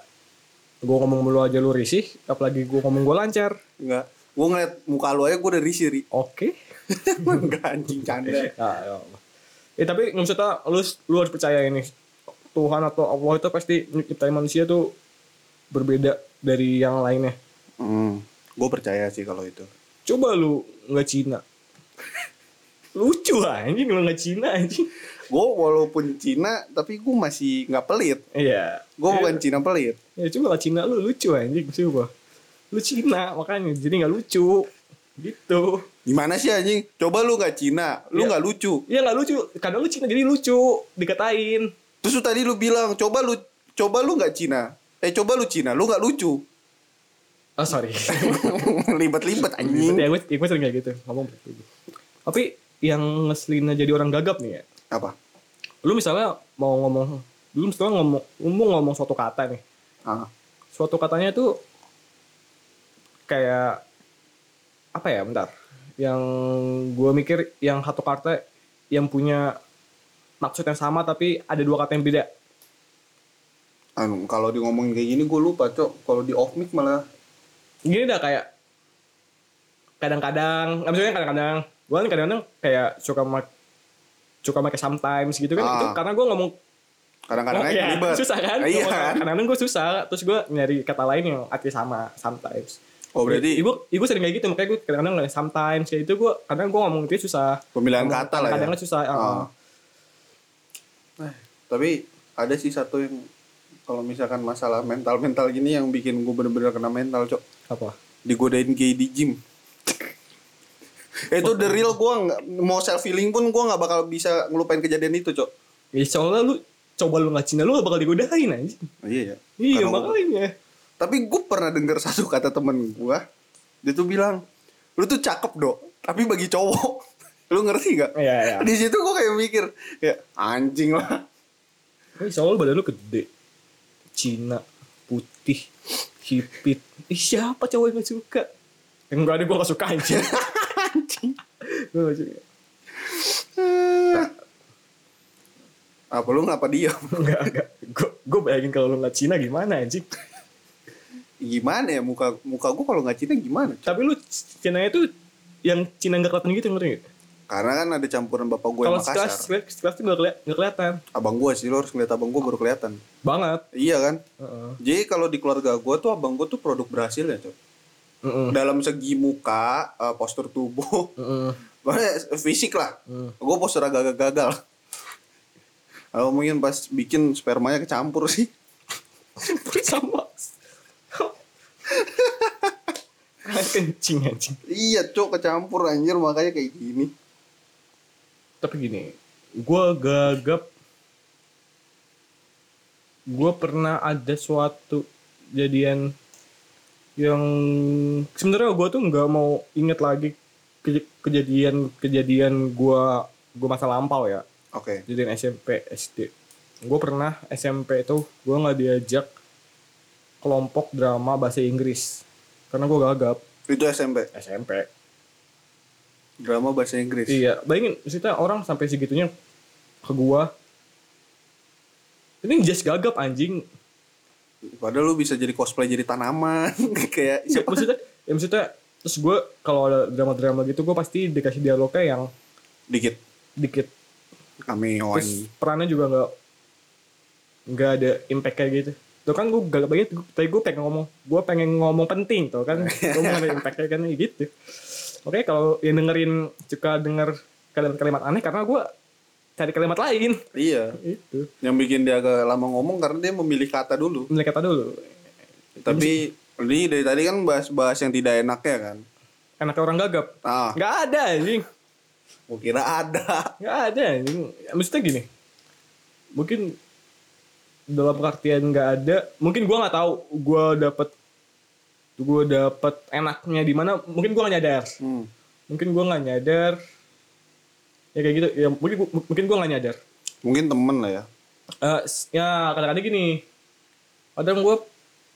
[SPEAKER 1] Gue ngomong mulu aja lu risih Apalagi gue ngomong gue lancar
[SPEAKER 2] Enggak. Gue ngeliat muka lu aja gue udah risih, <laughs> Ri.
[SPEAKER 1] Oke
[SPEAKER 2] Enggak anjing canda.
[SPEAKER 1] Ah, ya Allah. Eh tapi maksudnya lu lu harus percaya ini Tuhan atau Allah itu pasti menciptai manusia tuh berbeda dari yang lainnya.
[SPEAKER 2] Hmm, gue percaya sih kalau itu.
[SPEAKER 1] Coba lu nggak Cina. Lucu anjing lu nggak Cina anjing.
[SPEAKER 2] Gue walaupun Cina, tapi gue masih nggak pelit.
[SPEAKER 1] Iya. Ya,
[SPEAKER 2] Gue bukan Cina pelit.
[SPEAKER 1] Ya coba lah Cina lu lucu anjing coba. Lu Cina makanya jadi nggak lucu. Gitu.
[SPEAKER 2] Gimana sih anjing? Coba lu nggak Cina, lu
[SPEAKER 1] Iya.
[SPEAKER 2] nggak lucu.
[SPEAKER 1] Iya lah lucu. Kadang lu Cina jadi lucu dikatain.
[SPEAKER 2] Terus lu tadi lu bilang, coba lu, coba lu nggak Cina. Eh coba lu Cina, lu nggak lucu. <laughs>
[SPEAKER 1] Oh sorry.
[SPEAKER 2] Ribet-ribet
[SPEAKER 1] Gitu
[SPEAKER 2] anjing.
[SPEAKER 1] ya gue, ya, gue sering kayak gitu ngomong gitu. Tapi yang ngeselinnya jadi orang gagap nih ya.
[SPEAKER 2] Apa?
[SPEAKER 1] Lu misalnya mau ngomong, lu misalnya ngomong, lu mau ngomong suatu kata nih.
[SPEAKER 2] Ah,
[SPEAKER 1] Suatu katanya tuh kayak apa ya bentar yang gue mikir yang satu kata yang punya maksud yang sama tapi ada dua kata yang beda
[SPEAKER 2] Anu, kalau di ngomongin kayak gini gue lupa cok kalau di off mic malah
[SPEAKER 1] gini dah kayak kadang-kadang nggak maksudnya kadang-kadang gue kan kadang-kadang kayak suka mak suka pakai sometimes gitu kan
[SPEAKER 2] Ah.
[SPEAKER 1] itu karena gue ngomong
[SPEAKER 2] kadang-kadang
[SPEAKER 1] oh,
[SPEAKER 2] aja
[SPEAKER 1] iya,
[SPEAKER 2] ribet
[SPEAKER 1] susah kan
[SPEAKER 2] Ah, iya kan?
[SPEAKER 1] kadang-kadang gue susah terus gue nyari kata lain yang artinya sama sometimes
[SPEAKER 2] oh berarti
[SPEAKER 1] ibu ibu sering kayak gitu makanya gue kadang-kadang ngomong sometimes kayak itu gue kadang gue ngomong itu susah
[SPEAKER 2] pemilihan
[SPEAKER 1] Ngomong
[SPEAKER 2] kata lah ya
[SPEAKER 1] kadang-kadang susah ah.
[SPEAKER 2] Ah. Nah, tapi ada sih satu yang kalau misalkan masalah mental-mental gini yang bikin gue bener-bener kena mental, Cok.
[SPEAKER 1] apa
[SPEAKER 2] Digodain gay di gym. <laughs> itu the real gue nggak mau self healing pun gue nggak bakal bisa ngelupain kejadian itu, Cok.
[SPEAKER 1] ya soalnya lu coba lu nggak Cina lu gak bakal digodain aja
[SPEAKER 2] Iya ya.
[SPEAKER 1] iya
[SPEAKER 2] Karena-
[SPEAKER 1] makanya
[SPEAKER 2] Tapi gue pernah dengar satu kata temen gue, dia tuh bilang, lu tuh cakep dok, tapi bagi cowok, <laughs> lu ngerti gak?
[SPEAKER 1] Iya, iya.
[SPEAKER 2] Di situ gue kayak mikir, ya anjing lah.
[SPEAKER 1] Wih, soalnya badan lu gede. Cina, putih, hipit. Ih, siapa cowok yang gak suka? Yang berani gue gak suka aja. Gue gak suka.
[SPEAKER 2] Eh. Apa lu ngapa diam?
[SPEAKER 1] Enggak, enggak. Gue, gue bayangin kalau lu gak Cina gimana anjing.
[SPEAKER 2] gimana ya muka muka gue kalau nggak Cina gimana
[SPEAKER 1] Tapi lu Cina itu yang Cina gak kelihatan gitu ngerti gak?
[SPEAKER 2] karena kan ada campuran bapak gue yang
[SPEAKER 1] Kalau
[SPEAKER 2] Makassar
[SPEAKER 1] sekelas, sekelas tuh gak, keli- gak kelihatan.
[SPEAKER 2] abang gue sih lo harus ngeliat abang gue baru kelihatan
[SPEAKER 1] Banget.
[SPEAKER 2] iya kan
[SPEAKER 1] Heeh.
[SPEAKER 2] jadi kalau di keluarga gue tuh abang gue tuh produk berhasil ya tuh
[SPEAKER 1] Heeh.
[SPEAKER 2] dalam segi muka eh, postur tubuh <laughs>
[SPEAKER 1] Heeh.
[SPEAKER 2] pokoknya fisik lah
[SPEAKER 1] Hmm.
[SPEAKER 2] gue postur agak-agak gagal kalau mungkin pas bikin spermanya kecampur sih
[SPEAKER 1] Sama. <laughs> Kencing anjing.
[SPEAKER 2] iya cok kecampur anjir makanya kayak gini
[SPEAKER 1] tapi gini gue gagap gue pernah ada suatu jadian yang sebenarnya gue tuh nggak mau inget lagi ke- kejadian kejadian gue gue masa lampau ya
[SPEAKER 2] oke
[SPEAKER 1] jadian SMP SD gue pernah SMP itu gue nggak diajak kelompok drama bahasa Inggris karena gue gagap
[SPEAKER 2] itu SMP
[SPEAKER 1] SMP
[SPEAKER 2] drama bahasa Inggris
[SPEAKER 1] Iya, bayangin maksudnya orang sampai segitunya ke gua. Ini just gagap anjing.
[SPEAKER 2] padahal lu bisa jadi cosplay jadi tanaman <laughs> kayak
[SPEAKER 1] Nggak,
[SPEAKER 2] siapa
[SPEAKER 1] maksudnya, ya maksudnya terus gua kalau ada drama-drama gitu gua pasti dikasih dialognya yang
[SPEAKER 2] dikit
[SPEAKER 1] dikit.
[SPEAKER 2] cameoan
[SPEAKER 1] Terus perannya juga nggak nggak ada impact kayak gitu. Tuh kan gua gagap banget, gua- tapi gua pengen ngomong, gua pengen ngomong penting tuh kan. Gua mau ada impact-nya kan gitu. Oke, kalau yang dengerin suka denger kalimat-kalimat aneh karena gua cari kalimat lain.
[SPEAKER 2] iya
[SPEAKER 1] Itu.
[SPEAKER 2] yang bikin dia agak lama ngomong karena dia memilih kata dulu
[SPEAKER 1] Mulai kata dulu.
[SPEAKER 2] tapi ini dari tadi kan bahas-bahas yang tidak enaknya kan
[SPEAKER 1] enaknya orang gagap
[SPEAKER 2] ah
[SPEAKER 1] nggak ada anjing
[SPEAKER 2] gua kira ada
[SPEAKER 1] nggak ada anjing maksudnya gini mungkin dalam pengertian nggak ada mungkin gua nggak tahu gua dapet gua dapet enaknya di mana mungkin gua nggak nyadar
[SPEAKER 2] hmm.
[SPEAKER 1] mungkin gua nggak nyadar ya kayak gitu ya mungkin gua- mungkin gua nggak nyadar
[SPEAKER 2] mungkin temen lah ya
[SPEAKER 1] Eh, s- ya kadang-kadang gini kadang gue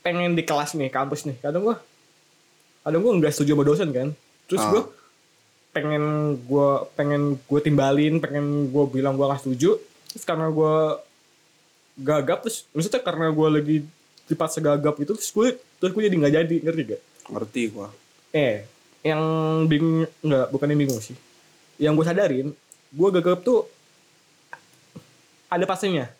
[SPEAKER 1] pengen di kelas nih kampus nih kadang gue kadang gue nggak setuju sama dosen kan terus
[SPEAKER 2] Ah.
[SPEAKER 1] gue pengen gue pengen gue timbalin pengen gue bilang gue nggak setuju terus karena gue gagap terus maksudnya karena gue lagi dipaksa gagap itu terus gue terus gue jadi nggak jadi ngerti gak
[SPEAKER 2] ngerti gua
[SPEAKER 1] eh yang bingung nggak bukan yang bingung sih yang gue sadarin gue gagap tuh ada pasenya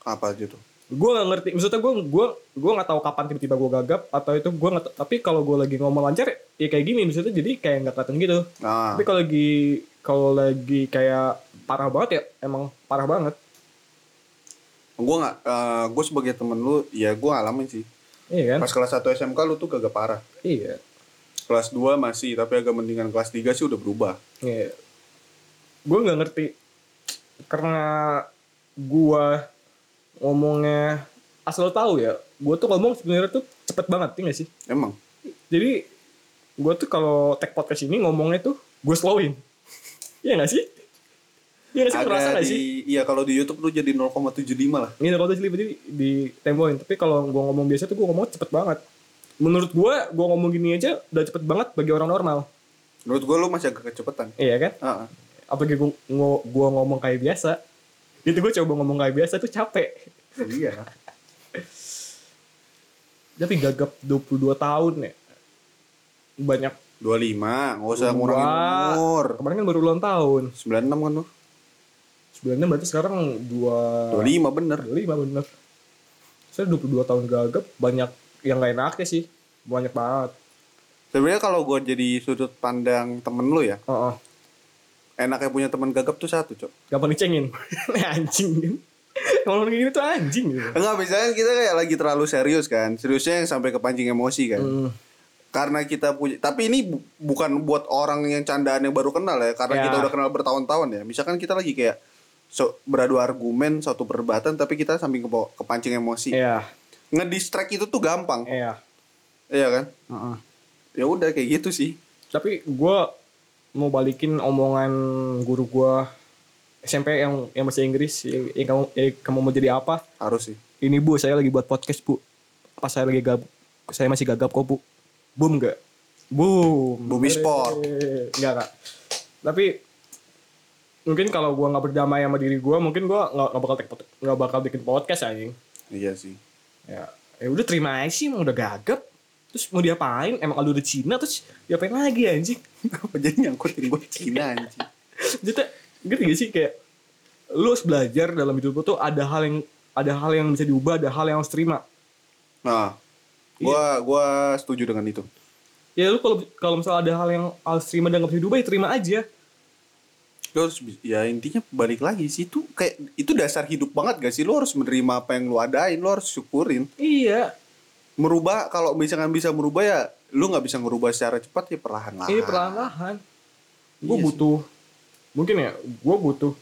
[SPEAKER 2] apa aja tuh
[SPEAKER 1] gue gak ngerti maksudnya gue gue gue nggak tahu kapan tiba-tiba gue gagap atau itu gue nggak tahu. tapi kalau gue lagi ngomong lancar ya kayak gini maksudnya jadi kayak nggak kelihatan gitu
[SPEAKER 2] ah
[SPEAKER 1] tapi kalau lagi kalau lagi kayak parah banget ya emang parah banget
[SPEAKER 2] gua nggak eh, gua sebagai temen lu ya gua ngalamin sih
[SPEAKER 1] iya kan
[SPEAKER 2] pas kelas 1 SMK lu tuh gagap parah
[SPEAKER 1] iya
[SPEAKER 2] kelas 2 masih tapi agak mendingan kelas 3 sih udah berubah
[SPEAKER 1] iya gue nggak ngerti karena gue ngomongnya asal lo tahu ya gue tuh ngomong sebenarnya tuh cepet banget ya gak sih
[SPEAKER 2] emang
[SPEAKER 1] jadi gue tuh kalau tag podcast ini ngomongnya tuh gue slowin iya gak sih iya gak sih ngerasa
[SPEAKER 2] Agak
[SPEAKER 1] gak sih
[SPEAKER 2] di iya kalau di YouTube lu jadi 0,75 lah
[SPEAKER 1] ini kalau tuh tiba-tiba di temboin tapi kalau gue ngomong biasa tuh gue ngomong cepet banget menurut gue gue ngomong gini aja udah cepet banget bagi orang normal
[SPEAKER 2] Menurut gue lu masih agak kecepetan.
[SPEAKER 1] iya kan
[SPEAKER 2] Ah, ah.
[SPEAKER 1] apalagi gue gue ngomong kayak biasa itu gue coba ngomong kayak biasa tuh capek
[SPEAKER 2] iya.
[SPEAKER 1] tapi gagap 22 tahun ya banyak
[SPEAKER 2] 25, nggak usah
[SPEAKER 1] Dua.
[SPEAKER 2] ngurangin umur.
[SPEAKER 1] kemarin kan baru ulang tahun
[SPEAKER 2] 96 kan lu?
[SPEAKER 1] sebenarnya berarti sekarang dua
[SPEAKER 2] 25 bener.
[SPEAKER 1] lima bener saya 22 tahun gagap banyak yang gak enaknya sih banyak banget
[SPEAKER 2] Sebenarnya kalau gue jadi sudut pandang temen lu ya,
[SPEAKER 1] oh, oh.
[SPEAKER 2] enaknya punya temen gagap tuh satu, Cok.
[SPEAKER 1] gampang dicengin <laughs> anjing kan kalau kayak gini tuh anjing gitu
[SPEAKER 2] Enggak, misalnya kita kayak lagi terlalu serius kan. Seriusnya yang sampai kepancing emosi kan.
[SPEAKER 1] Hmm.
[SPEAKER 2] Karena kita punya tapi ini bu- bukan buat orang yang candaan yang baru kenal ya, karena
[SPEAKER 1] Ya.
[SPEAKER 2] kita udah kenal bertahun-tahun ya. Misalkan kita lagi kayak so, beradu argumen satu perdebatan tapi kita sambil kepo- kepancing emosi.
[SPEAKER 1] iya
[SPEAKER 2] Ngedistract itu tuh gampang.
[SPEAKER 1] iya
[SPEAKER 2] Iya kan?
[SPEAKER 1] Heeh.
[SPEAKER 2] Ya udah kayak gitu sih.
[SPEAKER 1] tapi gue mau balikin omongan guru gue SMP yang yang bahasa Inggris yang, yang kamu yang kamu mau jadi apa
[SPEAKER 2] Harus sih.
[SPEAKER 1] ini bu saya lagi buat podcast bu pas saya lagi gab saya masih gagap kok bu boom gak boom
[SPEAKER 2] Bumi sport.
[SPEAKER 1] enggak kak tapi mungkin kalau gua nggak berdamai sama diri gua mungkin gua nggak nggak bakal take pod- nggak bakal bikin podcast anjing
[SPEAKER 2] Iya <laughs> sih.
[SPEAKER 1] ya ya udah terima aja sih emang udah gagap terus mau diapain emang kalau udah Cina terus diapain lagi anjing <laughs>
[SPEAKER 2] Kenapa jadi nyangkutin gue Cina anjing?
[SPEAKER 1] Jadi gitu gak sih kayak lu harus belajar dalam hidup lu tuh ada hal yang ada hal yang bisa diubah, ada hal yang harus terima.
[SPEAKER 2] Nah, gua gua setuju dengan itu.
[SPEAKER 1] Ya lu kalau kalau misalnya ada hal yang harus terima dan gak bisa diubah ya terima aja.
[SPEAKER 2] Lu harus bi- ya intinya balik lagi sih itu kayak itu dasar hidup banget gak sih? Lu harus menerima apa yang lu adain, lu harus syukurin.
[SPEAKER 1] Iya,
[SPEAKER 2] Merubah kalau misalkan bisa merubah ya lu nggak bisa ngerubah secara cepat ya perlahan-lahan.
[SPEAKER 1] ini perlahan-lahan. Gue
[SPEAKER 2] Iya sih.
[SPEAKER 1] Ah. butuh mungkin ya gue butuh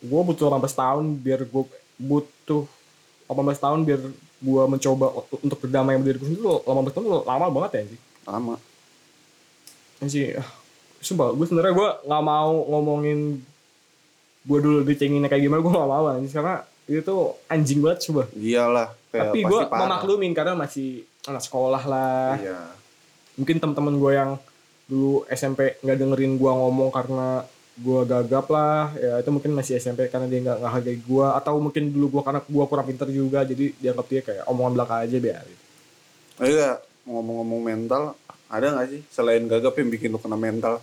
[SPEAKER 1] gue butuh 18 tahun biar gue butuh 18 tahun biar gue mencoba u- untuk berdamai sama diri gue sendiri Lu 18 tahun lu lama banget ya sih.
[SPEAKER 2] Lama.
[SPEAKER 1] Ya sih ah, sumpah gue sebenarnya gue nggak mau ngomongin gue dulu dicenginnya kayak gimana gue nggak mau anjing karena itu tuh anjing banget coba
[SPEAKER 2] Iyalah kayak
[SPEAKER 1] tapi
[SPEAKER 2] pasti
[SPEAKER 1] gue
[SPEAKER 2] parah.
[SPEAKER 1] memaklumin karena masih anak sekolah lah
[SPEAKER 2] Iya.
[SPEAKER 1] mungkin teman-teman gue yang dulu SMP nggak dengerin gue ngomong karena gue gagap lah ya itu mungkin masih SMP karena dia nggak nggak hargai gue atau mungkin dulu gue karena gue kurang pinter juga jadi dianggap dia kayak omongan belaka aja biarin
[SPEAKER 2] Oh, iya, ngomong-ngomong mental, ada nggak sih selain gagap yang bikin lu kena mental?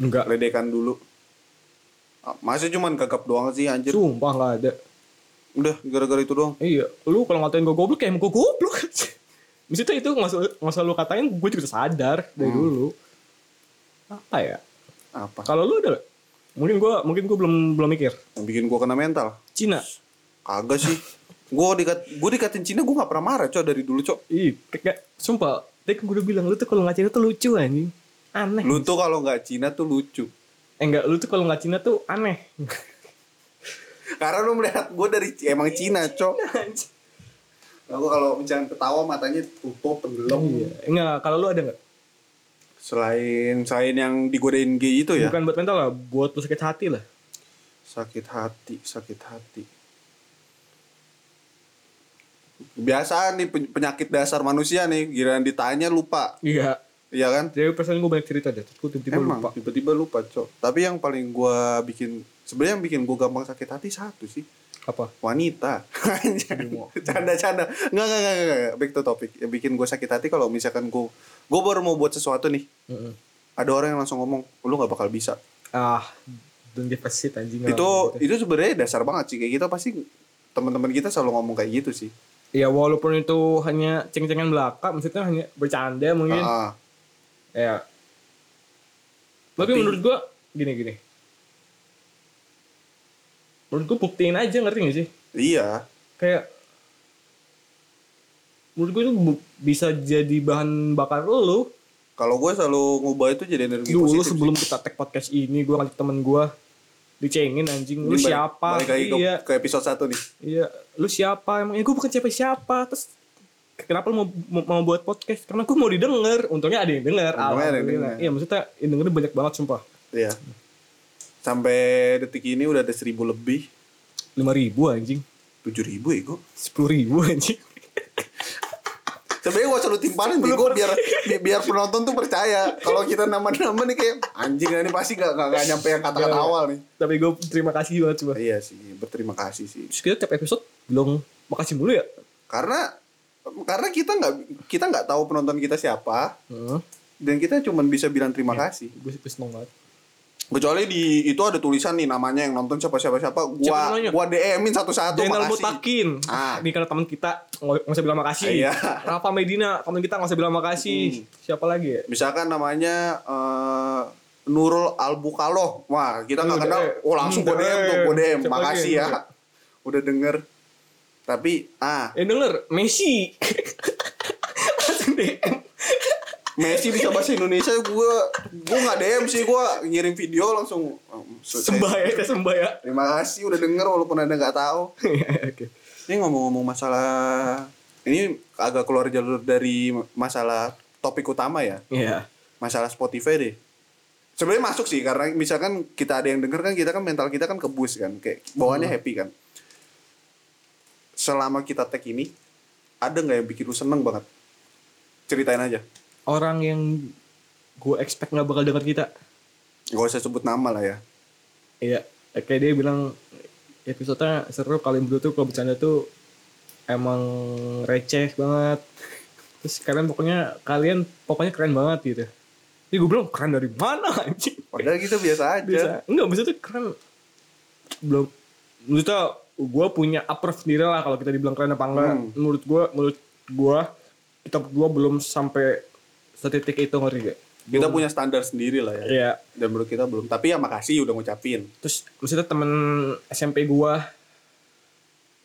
[SPEAKER 1] enggak
[SPEAKER 2] Ledekan dulu. Ah, Masa cuman gagap doang sih anjir.
[SPEAKER 1] sumpah nggak ada
[SPEAKER 2] Udah gara-gara itu doang.
[SPEAKER 1] Iya, lu kalau ngatain gue goblok ya emang gue goblok. <laughs> Maksudnya itu nggak usah nggak usah lu katain, gue juga sadar dari
[SPEAKER 2] Hmm.
[SPEAKER 1] dulu. Apa ya?
[SPEAKER 2] Apa?
[SPEAKER 1] Kalau lu ada, nggak? mungkin gue mungkin gue belum belum mikir.
[SPEAKER 2] Yang bikin gua kena mental?
[SPEAKER 1] Cina,
[SPEAKER 2] Kagak sih. gua dikat gua dikatin Cina gua nggak pernah marah, Cok, dari dulu, Cok.
[SPEAKER 1] ih, kayak sumpah. Tadi kan gue udah bilang lu tuh kalau ngatain tuh lucu anjing, aneh.
[SPEAKER 2] Lu tuh kalau nggak Cina tuh lucu.
[SPEAKER 1] Eh enggak, lu tuh kalau nggak Cina tuh aneh. <laughs>
[SPEAKER 2] Karena lu melihat gua dari emang Cina, Cok. Aku kalau misalnya ketawa matanya tutup
[SPEAKER 1] Iya,
[SPEAKER 2] tenggelam.
[SPEAKER 1] enggak. Kalau lu ada nggak?
[SPEAKER 2] Selain selain yang digodain gay itu ya.
[SPEAKER 1] Bukan buat mental lah, buat lu sakit hati lah.
[SPEAKER 2] Sakit hati, sakit hati. Biasa nih pen- penyakit dasar manusia nih, giliran ditanya lupa.
[SPEAKER 1] Iya.
[SPEAKER 2] Iya kan?
[SPEAKER 1] Jadi perasaan gue banyak cerita deh, terus gue tiba-tiba
[SPEAKER 2] Emang
[SPEAKER 1] lupa.
[SPEAKER 2] tiba-tiba lupa, Cok. Tapi yang paling gua bikin sebenarnya yang bikin gua gampang sakit hati satu sih.
[SPEAKER 1] Apa?
[SPEAKER 2] wanita <laughs> canda canda nggak nggak nggak nggak, nggak back to topic yang bikin gue sakit hati kalau misalkan gue gue baru mau buat sesuatu nih
[SPEAKER 1] Mm-mm.
[SPEAKER 2] ada orang yang langsung ngomong lu nggak bakal bisa
[SPEAKER 1] Ah, don't give a shit anjing.
[SPEAKER 2] itu
[SPEAKER 1] Gitu.
[SPEAKER 2] itu sebenarnya dasar banget sih kayak kita pasti teman-teman kita selalu ngomong kayak gitu sih
[SPEAKER 1] Ya walaupun itu hanya ceng-cengan belaka, maksudnya hanya bercanda mungkin.
[SPEAKER 2] Ah,
[SPEAKER 1] Ya. Tapi,
[SPEAKER 2] Tapi-
[SPEAKER 1] menurut gua gini-gini. Menurut gua buktiin aja ngerti gak sih?
[SPEAKER 2] iya
[SPEAKER 1] Kayak menurut gua itu bu- bisa jadi bahan bakar lu
[SPEAKER 2] kalau gue selalu ngubah itu jadi energi
[SPEAKER 1] dulu
[SPEAKER 2] positif
[SPEAKER 1] sebelum kita tag podcast ini gua ngajak temen gua dicengin anjing
[SPEAKER 2] sih.
[SPEAKER 1] lu
[SPEAKER 2] Ini balik-
[SPEAKER 1] siapa
[SPEAKER 2] balik lagi ke,
[SPEAKER 1] iya
[SPEAKER 2] ke episode satu nih
[SPEAKER 1] Iya, lu siapa? Emang ya gue bukan siapa-siapa. Terus kenapa lu mau, mau, mau buat podcast? Karena gue mau didengar. Untungnya ada yang dengar.
[SPEAKER 2] Untungnya ada yang
[SPEAKER 1] Alhamdulillah.
[SPEAKER 2] denger.
[SPEAKER 1] Iya, maksudnya yang dengerin banyak banget sumpah.
[SPEAKER 2] iya sampai detik ini udah ada seribu lebih
[SPEAKER 1] 5 ribu anjing.
[SPEAKER 2] tujuh ribu ya
[SPEAKER 1] 10 ribu anjing.
[SPEAKER 2] sebenarnya gak usah lu timpanin bego biar bi- biar penonton tuh percaya kalau kita nama-nama nih kayak anjing ini pasti gak, gak, gak nyampe yang kata-kata
[SPEAKER 1] Nggak.
[SPEAKER 2] awal nih
[SPEAKER 1] <laughs> Tapi gue terima kasih banget coba.
[SPEAKER 2] iya sih berterima kasih sih
[SPEAKER 1] Terus kita tiap episode bilang makasih mulu ya.
[SPEAKER 2] karena karena kita nggak kita nggak tahu penonton kita siapa
[SPEAKER 1] Heeh.
[SPEAKER 2] dan kita cuman bisa bilang terima kasih
[SPEAKER 1] Gue gue seneng banget.
[SPEAKER 2] kecuali di itu ada tulisan nih namanya yang nonton siapa siapa siapa
[SPEAKER 1] Siapa
[SPEAKER 2] gua
[SPEAKER 1] namanya?
[SPEAKER 2] gua DM-in satu-satu
[SPEAKER 1] Zainal
[SPEAKER 2] makasih
[SPEAKER 1] Mutakin.
[SPEAKER 2] Ah.
[SPEAKER 1] Ini karena teman kita nggak nggak usah bilang makasih.
[SPEAKER 2] Iya. Hmm.
[SPEAKER 1] Rafa Medina, teman kita nggak usah bilang makasih. Siapa lagi ya?
[SPEAKER 2] misalkan namanya eh, Nurul Albukaloh wah kita nggak
[SPEAKER 1] Hmm,
[SPEAKER 2] kenal
[SPEAKER 1] DM.
[SPEAKER 2] oh langsung gua
[SPEAKER 1] Hmm,
[SPEAKER 2] DM tuh gua
[SPEAKER 1] DM.
[SPEAKER 2] DM
[SPEAKER 1] Siapa lagi
[SPEAKER 2] makasih
[SPEAKER 1] yang
[SPEAKER 2] ya
[SPEAKER 1] pakai?
[SPEAKER 2] udah denger tapi ah
[SPEAKER 1] Eh denger,
[SPEAKER 2] <laughs>
[SPEAKER 1] Messi. Langsung DM.
[SPEAKER 2] Messi bisa bahasa Indonesia gua gua nggak DM sih gua ngirim video langsung oh, saya-
[SPEAKER 1] Sembah ya, kita sembah ya. <laughs> Iya,
[SPEAKER 2] Terima kasih udah denger walaupun ada nggak tahu.
[SPEAKER 1] Oke.
[SPEAKER 2] Ini ngomong-ngomong masalah ini agak keluar jalur dari masalah topik utama ya,
[SPEAKER 1] Iya.
[SPEAKER 2] masalah Spotify deh. Sebenarnya masuk sih karena misalkan kita ada yang denger kan kita kan mental kita kan kebus kan, kayak bawaannya happy kan. Selama kita tag ini ada nggak yang bikin lu seneng banget? Ceritain aja.
[SPEAKER 1] Orang yang gue expect nggak bakal denger kita.
[SPEAKER 2] Gak usah sebut nama lah ya.
[SPEAKER 1] Iya. Kayak dia bilang episode-nya seru kali berdua tuh kalau bercanda tuh emang receh banget. <laughs> Terus kalian pokoknya kalian pokoknya keren banget gitu. Jadi gue bilang keren dari mana anjing?
[SPEAKER 2] Padahal kita biasa aja.
[SPEAKER 1] Bisa. Enggak, maksudnya tuh keren. Belum maksudnya gue punya upper sendiri lah kalau kita dibilang keren apa enggak.
[SPEAKER 2] Hmm.
[SPEAKER 1] Menurut gue menurut gue kita berdua belum sampai setitik itu ngerti gak?
[SPEAKER 2] Kita punya standar sendiri lah ya.
[SPEAKER 1] Iya.
[SPEAKER 2] Dan menurut kita belum. Tapi ya makasih udah ngucapin.
[SPEAKER 1] terus maksudnya temen SMP gua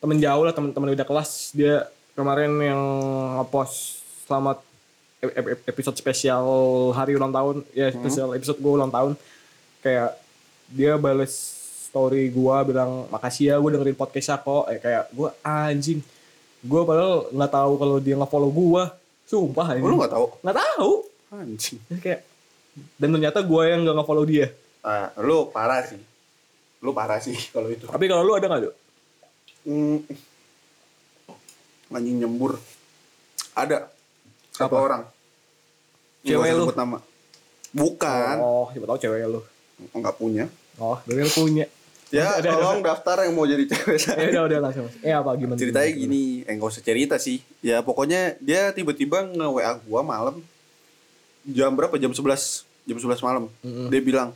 [SPEAKER 1] temen jauh lah temen-temen udah kelas dia kemarin yang ngepost selamat ep- ep- episode spesial hari ulang tahun ya
[SPEAKER 2] Hmm.
[SPEAKER 1] spesial episode gua ulang tahun kayak dia bales story gua bilang makasih ya gua dengerin podcastnya kok eh, kayak gua anjing gua padahal nggak tahu kalau dia nge-follow gua sumpah
[SPEAKER 2] Oh, lu
[SPEAKER 1] anjing
[SPEAKER 2] nggak tahu?
[SPEAKER 1] nggak tahu
[SPEAKER 2] Anjing.
[SPEAKER 1] Terus kayak dan ternyata gua yang nggak nge-follow dia
[SPEAKER 2] Ah, lu parah sih. Lu parah sih <laughs> kalau itu.
[SPEAKER 1] tapi kalau lu ada nggak Dok?
[SPEAKER 2] Hmm. Anjing nyembur. Ada satu
[SPEAKER 1] Apa?
[SPEAKER 2] orang.
[SPEAKER 1] Cewek
[SPEAKER 2] Nggak usah
[SPEAKER 1] lu?
[SPEAKER 2] sebut nama. Bukan.
[SPEAKER 1] Oh, siapa tahu cewek lu.
[SPEAKER 2] Enggak punya.
[SPEAKER 1] Oh, berarti lu punya.
[SPEAKER 2] Ya,
[SPEAKER 1] Ada, ada,
[SPEAKER 2] tolong daftar yang mau jadi cewek saya.
[SPEAKER 1] <laughs> Ya udah udah langsung. Eh apa gimana?
[SPEAKER 2] Ceritanya
[SPEAKER 1] gimana?
[SPEAKER 2] gini, eh enggak usah cerita sih. Ya pokoknya dia tiba-tiba nge-WA gua malam jam berapa? Jam 11. Jam 11 malam.
[SPEAKER 1] Mm-mm.
[SPEAKER 2] Dia bilang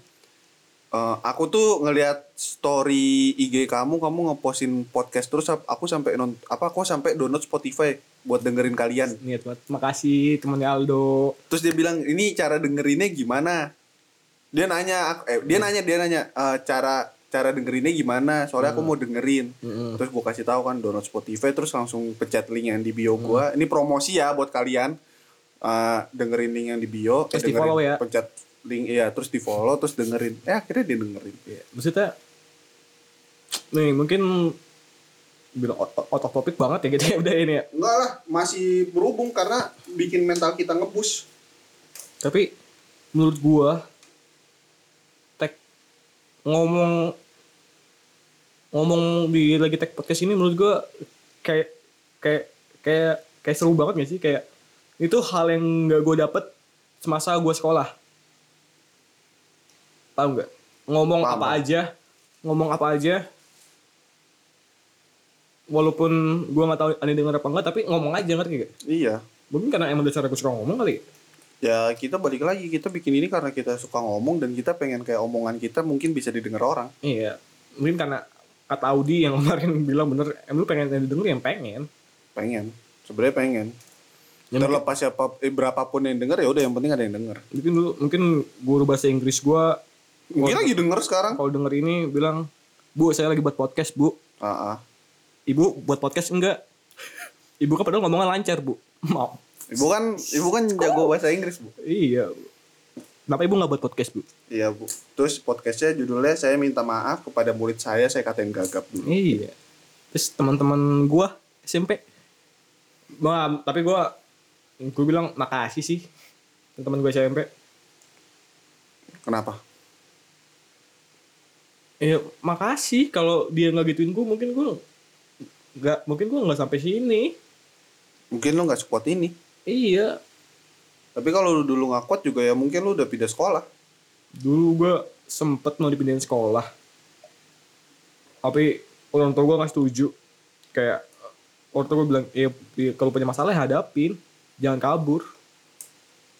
[SPEAKER 2] "Eh, aku tuh ngelihat story IG kamu, kamu ngepostin podcast terus ap- aku sampai non apa aku sampai download Spotify buat dengerin kalian.
[SPEAKER 1] Niat banget. Makasih temennya Aldo.
[SPEAKER 2] Terus dia bilang, "Ini cara dengerinnya gimana?" Dia nanya, aku- eh, dia nanya, dia nanya "Eh, cara cara dengerinnya gimana? Soalnya aku mau dengerin.
[SPEAKER 1] Mm-mm.
[SPEAKER 2] Terus gue kasih tahu kan download Spotify terus langsung pencet link yang di bio
[SPEAKER 1] Hmm.
[SPEAKER 2] gua. Ini promosi ya buat kalian. Eh, dengerin link yang di bio, eh,
[SPEAKER 1] Terus
[SPEAKER 2] dengerin-
[SPEAKER 1] di-follow ya.
[SPEAKER 2] Pencet link iya, terus di-follow terus dengerin. Eh akhirnya dia dengerin.
[SPEAKER 1] Iya, Maksudnya nih mungkin bilang otak topik banget ya gitu ya udah ini ya.
[SPEAKER 2] Enggak lah, masih berhubung karena bikin mental kita ngebus.
[SPEAKER 1] Tapi menurut gua tag ngomong ngomong di lagi tag podcast ini menurut gua kayak kayak kayak kayak seru banget gak sih kayak itu hal yang gak gue dapet semasa gua sekolah paham gak ngomong
[SPEAKER 2] Paham,
[SPEAKER 1] apa
[SPEAKER 2] Bang.
[SPEAKER 1] aja ngomong apa aja walaupun gua nggak tahu aneh denger apa enggak tapi ngomong aja ngerti gak
[SPEAKER 2] Iya.
[SPEAKER 1] mungkin karena emang dasar gue suka ngomong kali
[SPEAKER 2] Ya kita balik lagi, kita bikin ini karena kita suka ngomong dan kita pengen kayak omongan kita mungkin bisa didengar orang.
[SPEAKER 1] Iya, mungkin karena kata Audi yang <laughs> kemarin bilang bener, em lu pengen yang denger yang pengen.
[SPEAKER 2] Pengen. Sebenarnya pengen.
[SPEAKER 1] Ya,
[SPEAKER 2] Terlepas siapa eh, berapapun yang denger ya udah yang penting ada yang denger.
[SPEAKER 1] Mungkin dulu, mungkin guru bahasa Inggris gua
[SPEAKER 2] Mungkin lagi denger sekarang.
[SPEAKER 1] kalau denger ini bilang, Bu, saya lagi buat podcast, Bu.
[SPEAKER 2] Ah, ah.
[SPEAKER 1] Ibu buat podcast enggak? <laughs> Ibu kan padahal ngomongnya lancar, Bu. <laughs> Mau.
[SPEAKER 2] Ibu kan ibu kan jago bahasa Inggris, Bu.
[SPEAKER 1] Iya. Bu. Kenapa ibu nggak buat podcast, Bu?
[SPEAKER 2] Iya, Bu. Terus podcastnya judulnya saya minta maaf kepada murid saya, saya katain gagap dulu.
[SPEAKER 1] Iya. Terus teman-teman gua SMP. Nah, tapi gua gua bilang makasih sih teman-teman gua SMP.
[SPEAKER 2] Kenapa?
[SPEAKER 1] Ya makasih kalau dia nggak gituin gue mungkin gue nggak mungkin gue nggak sampai sini.
[SPEAKER 2] Mungkin lo nggak sekuat ini.
[SPEAKER 1] Iya,
[SPEAKER 2] Tapi kalau lu dulu nggak kuat juga ya mungkin lu udah pindah sekolah.
[SPEAKER 1] dulu gue sempet mau dipindahin sekolah tapi orang tua gue nggak setuju kayak orang tua gue bilang "Ya, ya, kalau punya masalah ya hadapin jangan kabur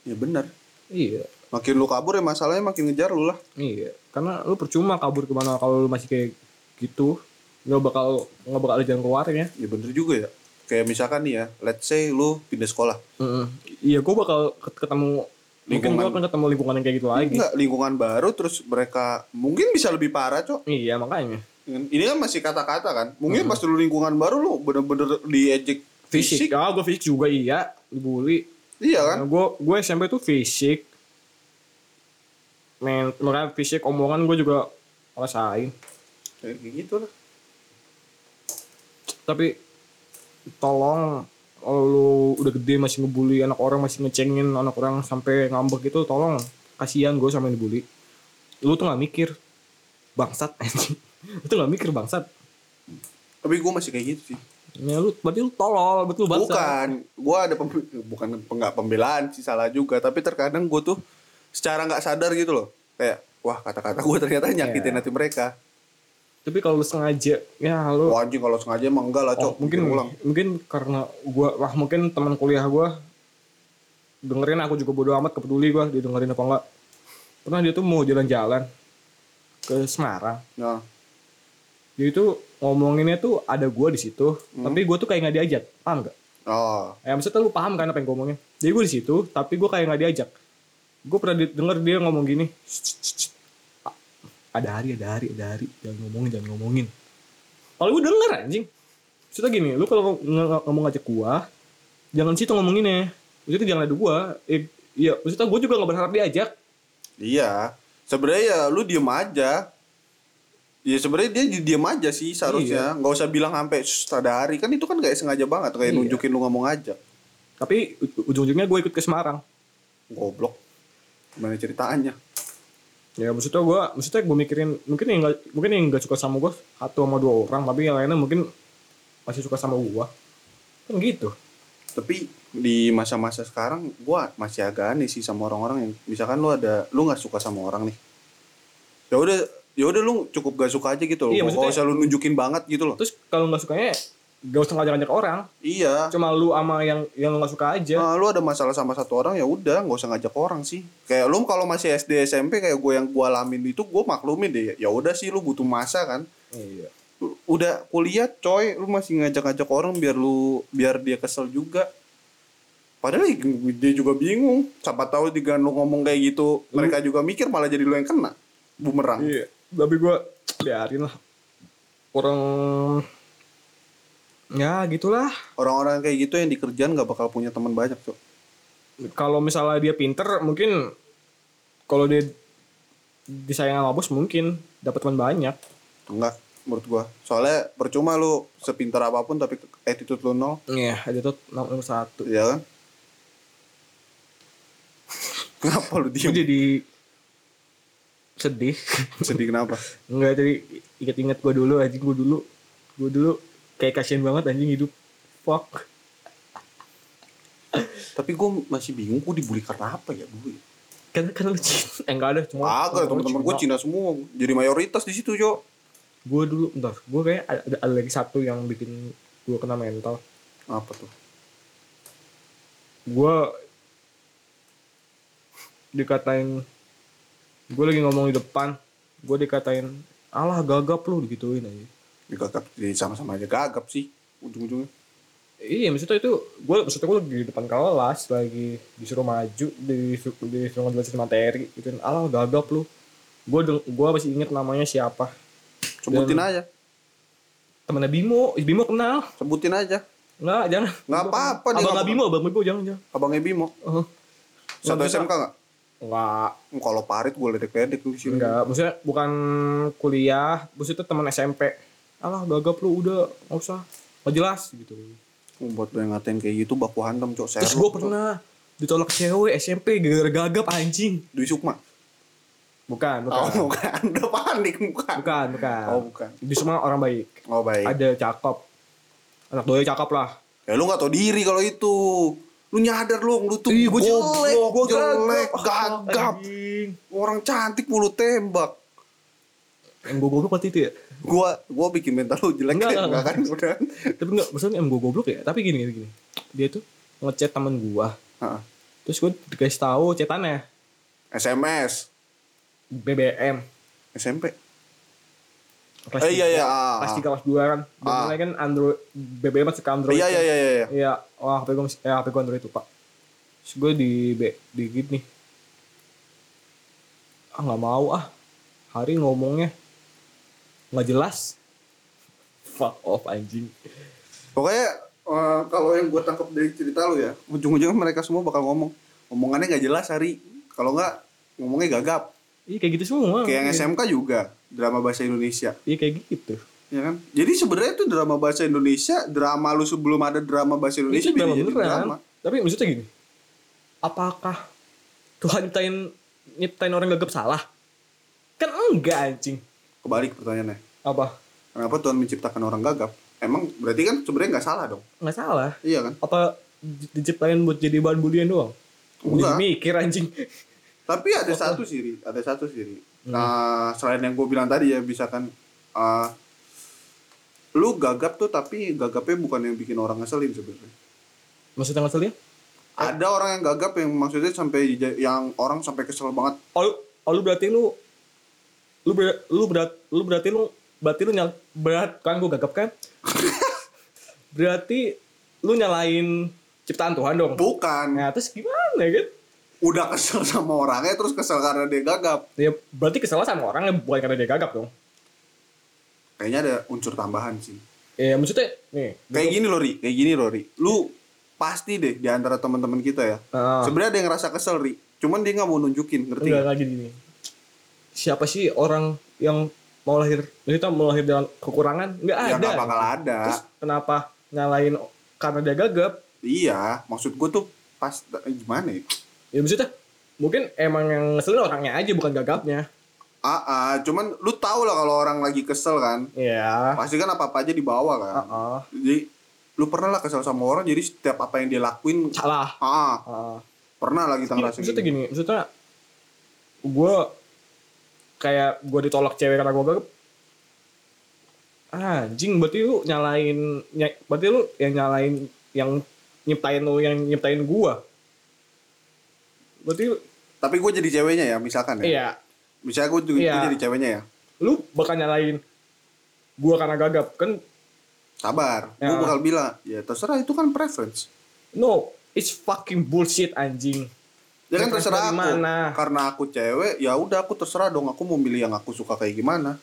[SPEAKER 2] Ya benar.
[SPEAKER 1] iya
[SPEAKER 2] Makin lu kabur ya masalahnya makin ngejar lu lah.
[SPEAKER 1] iya karena lu percuma kabur kemana kalau lu masih kayak gitu nggak bakal nggak bakal ada jalan keluarnya
[SPEAKER 2] Ya bener juga ya. Kayak misalkan nih ya, let's say lu pindah sekolah.
[SPEAKER 1] Mm-mm. iya gue bakal ket- ketemu lingkungan gue
[SPEAKER 2] Lingkungan.
[SPEAKER 1] akan ketemu lingkungan yang kayak gitu lagi
[SPEAKER 2] Enggak, lingkungan baru terus mereka mungkin bisa lebih parah, Cok.
[SPEAKER 1] iya makanya
[SPEAKER 2] Ini kan masih kata-kata kan. Mungkin pas lu lingkungan baru lu bener-bener diejek
[SPEAKER 1] fisik, ah gue fisik juga iya dibully
[SPEAKER 2] Iya
[SPEAKER 1] Nah,
[SPEAKER 2] kan?
[SPEAKER 1] gue gue SMP tuh fisik. Men, makanya fisik omongan gue juga rasain.
[SPEAKER 2] Kayak gitu lah.
[SPEAKER 1] Tapi tolong kalau lu udah gede masih ngebully anak orang masih ngecengin anak orang sampai ngambek gitu tolong kasihan gue sama yang dibully lu tuh nggak mikir bangsat <laughs> anjing lu tuh nggak mikir bangsat
[SPEAKER 2] Tapi gue masih kayak gitu sih.
[SPEAKER 1] ya lu berarti lu tolol betul bangsat
[SPEAKER 2] Bukan, gue ada pem, bukan pem- nggak pembelaan sih salah juga, tapi terkadang gue tuh secara nggak sadar gitu loh, kayak wah kata-kata gue ternyata nyakitin
[SPEAKER 1] Iya.
[SPEAKER 2] hati mereka.
[SPEAKER 1] tapi kalau lu sengaja ya lu
[SPEAKER 2] Wah anjing kalau sengaja emang enggak lah cok, Gitu
[SPEAKER 1] Oh, mungkin
[SPEAKER 2] ulang.
[SPEAKER 1] mungkin karena gua wah mungkin teman kuliah gua dengerin aku juga bodo amat kepeduli gua dia dengerin apa enggak. Pernah dia tuh mau jalan-jalan ke Semarang.
[SPEAKER 2] Nah,
[SPEAKER 1] Dia itu ngomonginnya tuh ada gua di situ,
[SPEAKER 2] Hmm.
[SPEAKER 1] tapi gua tuh kayak nggak diajak. Paham enggak?
[SPEAKER 2] oh,
[SPEAKER 1] Ya maksudnya lu paham kan apa yang gua omongin? Jadi gua di situ, tapi gua kayak nggak diajak. Gua pernah di- denger dia ngomong gini. "Shh, shh, shh. Ah, Ada hari, ada hari, ada hari. Jangan ngomongin, jangan ngomongin. Kalau gue denger anjing. Maksudnya gini, lu kalau ng- ng- ngomong ngajak gua, jangan situ ngomonginnya. Maksudnya jangan ada gua. Eh, iya, maksudnya gua juga gak berharap diajak.
[SPEAKER 2] iya. Sebenarnya ya lu diem aja. Ya sebenarnya dia di- diem aja sih seharusnya, nggak usah bilang sampai "Sus, ada hari kan itu kan kayak sengaja banget kayak
[SPEAKER 1] Iya.
[SPEAKER 2] nunjukin lu ngomong aja,
[SPEAKER 1] Tapi u- ujung-ujungnya gue ikut ke Semarang.
[SPEAKER 2] goblok. Gimana ceritanya?
[SPEAKER 1] Ya maksudnya gua, maksudnya gue mikirin mungkin yang gak, mungkin yang gak suka sama gua satu sama dua orang, tapi yang lainnya mungkin masih suka sama gua. Kan gitu.
[SPEAKER 2] tapi di masa-masa sekarang gua masih agak aneh sih sama orang-orang yang misalkan lu ada lu nggak suka sama orang nih ya udah ya udah lu cukup gak suka aja gitu loh
[SPEAKER 1] Iya,
[SPEAKER 2] iya,
[SPEAKER 1] maksudnya-
[SPEAKER 2] usah lu nunjukin banget gitu loh
[SPEAKER 1] terus kalau nggak sukanya gak usah ngajak-ngajak orang
[SPEAKER 2] iya
[SPEAKER 1] cuma lu sama yang yang nggak suka aja
[SPEAKER 2] Nah, lu ada masalah sama satu orang ya udah nggak usah ngajak orang sih kayak lu kalau masih SD SMP kayak gue yang gua alamin itu gue maklumin deh ya udah sih lu butuh masa kan
[SPEAKER 1] iya
[SPEAKER 2] Lu- udah kuliah coy lu masih ngajak-ngajak orang biar lu biar dia kesel juga padahal ya dia juga bingung siapa tahu juga lu ngomong kayak gitu mereka juga mikir malah jadi lu yang kena bumerang
[SPEAKER 1] iya tapi gua biarin lah orang ya gitulah
[SPEAKER 2] orang-orang kayak gitu yang di kerjaan gak bakal punya teman banyak tuh
[SPEAKER 1] kalau misalnya dia pinter mungkin kalau dia disayang sama bos mungkin dapat teman banyak
[SPEAKER 2] enggak menurut gua soalnya percuma lu sepintar apapun tapi attitude lu nol
[SPEAKER 1] iya itu tuh nomor satu
[SPEAKER 2] ya kan <laughs> kenapa lu
[SPEAKER 1] Gua
[SPEAKER 2] diem
[SPEAKER 1] jadi sedih <laughs>
[SPEAKER 2] sedih kenapa
[SPEAKER 1] Enggak jadi inget-inget gua dulu anjing gua dulu gua dulu kayak kasihan banget anjing hidup fuck
[SPEAKER 2] tapi gue masih bingung gue dibully karena apa ya dulu ya
[SPEAKER 1] kan kan lu Cina <laughs> eh, enggak ada cuma
[SPEAKER 2] agak teman-teman gue Cina semua jadi mayoritas di situ Jo
[SPEAKER 1] gue dulu bentar gue kayak ada, ada, ada lagi satu yang bikin gue kena mental
[SPEAKER 2] apa tuh
[SPEAKER 1] gue dikatain gue lagi ngomong di depan gue dikatain alah gagap lu digituin aja
[SPEAKER 2] gagap jadi sama-sama aja gagap sih ujung-ujungnya
[SPEAKER 1] iya maksudnya itu gue maksudnya gue lagi di depan kelas lagi disuruh maju disuruh, disuruh ngejelasin materi gitu alah gagap lu gue gue masih inget namanya siapa
[SPEAKER 2] sebutin aja
[SPEAKER 1] temennya Bimo Ih, Bimo kenal
[SPEAKER 2] sebutin aja
[SPEAKER 1] Enggak, jangan.
[SPEAKER 2] Nggak apa-apa, dia
[SPEAKER 1] Abang
[SPEAKER 2] nggak
[SPEAKER 1] Abimo, Abang Abimo jangan, jangan.
[SPEAKER 2] abangnya Bimo
[SPEAKER 1] Oh. Nggak
[SPEAKER 2] satu
[SPEAKER 1] bisa.
[SPEAKER 2] SMK nggak
[SPEAKER 1] Enggak,
[SPEAKER 2] kalau parit gue ledek-ledek lu di sini
[SPEAKER 1] enggak. Maksudnya bukan kuliah, maksudnya teman SMP. Alah, gagap lu udah, nggak usah. Nggak jelas gitu.
[SPEAKER 2] buat lo yang ngatain kayak gitu baku hantam cok
[SPEAKER 1] Terus
[SPEAKER 2] Sherlock
[SPEAKER 1] gue
[SPEAKER 2] Cok.
[SPEAKER 1] pernah ditolak cewek SMP gara-gara gagap anjing.
[SPEAKER 2] Dwi Sukma
[SPEAKER 1] Bukan,
[SPEAKER 2] oh
[SPEAKER 1] bukan.
[SPEAKER 2] bukan <laughs> udah panik bukan
[SPEAKER 1] Bukan, bukan.
[SPEAKER 2] oh bukan
[SPEAKER 1] Di semua orang baik.
[SPEAKER 2] oh baik
[SPEAKER 1] Ada cakep. Anak doi cakep lah.
[SPEAKER 2] ya lu nggak tau diri kalau itu lu nyadar lu lu tuh
[SPEAKER 1] Ih,
[SPEAKER 2] gue jelek
[SPEAKER 1] goblok,
[SPEAKER 2] gue jelek
[SPEAKER 1] gagap.
[SPEAKER 2] gagap
[SPEAKER 1] Anjing.
[SPEAKER 2] orang cantik mulu tembak
[SPEAKER 1] Yang gue goblok waktu itu ya.
[SPEAKER 2] gua gua bikin mental lu jelek
[SPEAKER 1] Enggak,
[SPEAKER 2] enggak,
[SPEAKER 1] enggak.
[SPEAKER 2] kan udah
[SPEAKER 1] Tapi enggak, maksudnya em gue goblok ya. Tapi gini gini gini. Dia tuh ngechat temen gue.
[SPEAKER 2] Heeh.
[SPEAKER 1] Terus gue dikasih tahu chatannya
[SPEAKER 2] SMS
[SPEAKER 1] BBM.
[SPEAKER 2] SMP
[SPEAKER 1] Kelas
[SPEAKER 2] Eh, iya,
[SPEAKER 1] tiga.
[SPEAKER 2] iya, ah.
[SPEAKER 1] Kelas tiga, kelas dua kan.
[SPEAKER 2] Ah.
[SPEAKER 1] Mulai kan Android BBM masih ke Android.
[SPEAKER 2] iya
[SPEAKER 1] kan.
[SPEAKER 2] iya iya iya
[SPEAKER 1] Iya, wah HP gue eh, HP gue Android itu pak. Terus gue di B, di git nih. Ah nggak mau ah, hari ngomongnya nggak jelas. Fuck off anjing.
[SPEAKER 2] pokoknya eh, kalau yang gue tangkap dari cerita lu ya ujung-ujungnya mereka semua bakal ngomong omongannya nggak jelas hari kalau nggak ngomongnya gagap
[SPEAKER 1] Iya kayak gitu semua.
[SPEAKER 2] kayak yang
[SPEAKER 1] Iya.
[SPEAKER 2] SMK juga drama bahasa Indonesia
[SPEAKER 1] Iya kayak gitu.
[SPEAKER 2] ya kan jadi sebenarnya itu drama bahasa Indonesia drama lu sebelum ada drama bahasa
[SPEAKER 1] Itu
[SPEAKER 2] Indonesia
[SPEAKER 1] drama
[SPEAKER 2] bisa jadi
[SPEAKER 1] beneran.
[SPEAKER 2] drama
[SPEAKER 1] Tapi maksudnya gini, apakah Tuhan nyiptain nyiptain orang gagap salah? Kan enggak anjing.
[SPEAKER 2] kebalik pertanyaannya
[SPEAKER 1] Apa?
[SPEAKER 2] kenapa Tuhan menciptakan orang gagap emang berarti kan sebenarnya nggak salah dong
[SPEAKER 1] Nggak salah.
[SPEAKER 2] iya kan
[SPEAKER 1] Apa di- diciptain buat jadi bahan bulian doang? Gue jadi
[SPEAKER 2] Enggak.
[SPEAKER 1] mikir anjing. <laughs>
[SPEAKER 2] tapi ada satu sih Ri. ada satu sih Ri. Nah, selain yang gue bilang tadi ya misalkan eh, lu gagap tuh tapi gagapnya bukan yang bikin orang ngeselin sebenarnya
[SPEAKER 1] Maksudnya ngeselin?
[SPEAKER 2] ada orang yang gagap yang maksudnya sampai ja- yang orang sampai kesel banget
[SPEAKER 1] Oh, lu- oh, lu berarti lu lu ber, lu berat lu berarti lu berarti lu nyal berat kan gua gagap kan? <laughs> berarti lu nyalain ciptaan Tuhan dong.
[SPEAKER 2] bukan
[SPEAKER 1] Nah, terus gimana kan?
[SPEAKER 2] udah kesel <laughs> sama orangnya terus kesel karena dia gagap
[SPEAKER 1] Ya berarti kesalahan sama orang yang bukan karena dia gagap dong.
[SPEAKER 2] kayaknya ada unsur tambahan sih
[SPEAKER 1] Ya maksudnya nih.
[SPEAKER 2] kayak gini loh Ri kayak gini loh Ri lu pasti deh di antara teman-teman kita ya
[SPEAKER 1] Ah.
[SPEAKER 2] sebenarnya ada yang ngerasa kesel Ri cuman dia nggak mau nunjukin ngerti
[SPEAKER 1] Enggak
[SPEAKER 2] nggak?
[SPEAKER 1] lagi gini. Siapa sih orang yang mau lahir kita mau lahir dengan kekurangan? Enggak
[SPEAKER 2] ya
[SPEAKER 1] ada.
[SPEAKER 2] nggak bakal ada
[SPEAKER 1] Terus kenapa nyalain karena dia gagap?
[SPEAKER 2] iya maksud gue tuh pas eh, gimana ya
[SPEAKER 1] ya maksudnya mungkin emang yang ngeselin orangnya aja bukan gagapnya
[SPEAKER 2] Ah, ah, cuman lu tau lah kalau orang lagi kesel kan
[SPEAKER 1] ya
[SPEAKER 2] pasti kan apa apa aja dibawa kan
[SPEAKER 1] Heeh.
[SPEAKER 2] jadi lu pernah lah kesel sama orang jadi setiap apa yang dia lakuin
[SPEAKER 1] salah
[SPEAKER 2] ah, ah,
[SPEAKER 1] Heeh.
[SPEAKER 2] pernah lah kita ngerasain
[SPEAKER 1] Iya, maksudnya
[SPEAKER 2] gitu.
[SPEAKER 1] gini maksudnya gue kayak gue ditolak cewek karena gue gagap anjing berarti lu nyalain ny- berarti lu yang nyalain yang nyiptain lu yang nyiptain gua berarti lu-
[SPEAKER 2] tapi gue jadi ceweknya ya misalkan ya
[SPEAKER 1] iya
[SPEAKER 2] misalnya gue juga
[SPEAKER 1] Iya.
[SPEAKER 2] gua jadi ceweknya ya
[SPEAKER 1] lu bakal nyalain gua karena gagap kan
[SPEAKER 2] sabar gue
[SPEAKER 1] Ya.
[SPEAKER 2] bakal bilang ya terserah itu kan preference
[SPEAKER 1] no it's fucking bullshit anjing
[SPEAKER 2] Ya kan
[SPEAKER 1] Preference dari
[SPEAKER 2] terserah aku.
[SPEAKER 1] mana?
[SPEAKER 2] Karena aku cewek, ya udah aku terserah dong aku mau milih yang aku suka kayak gimana.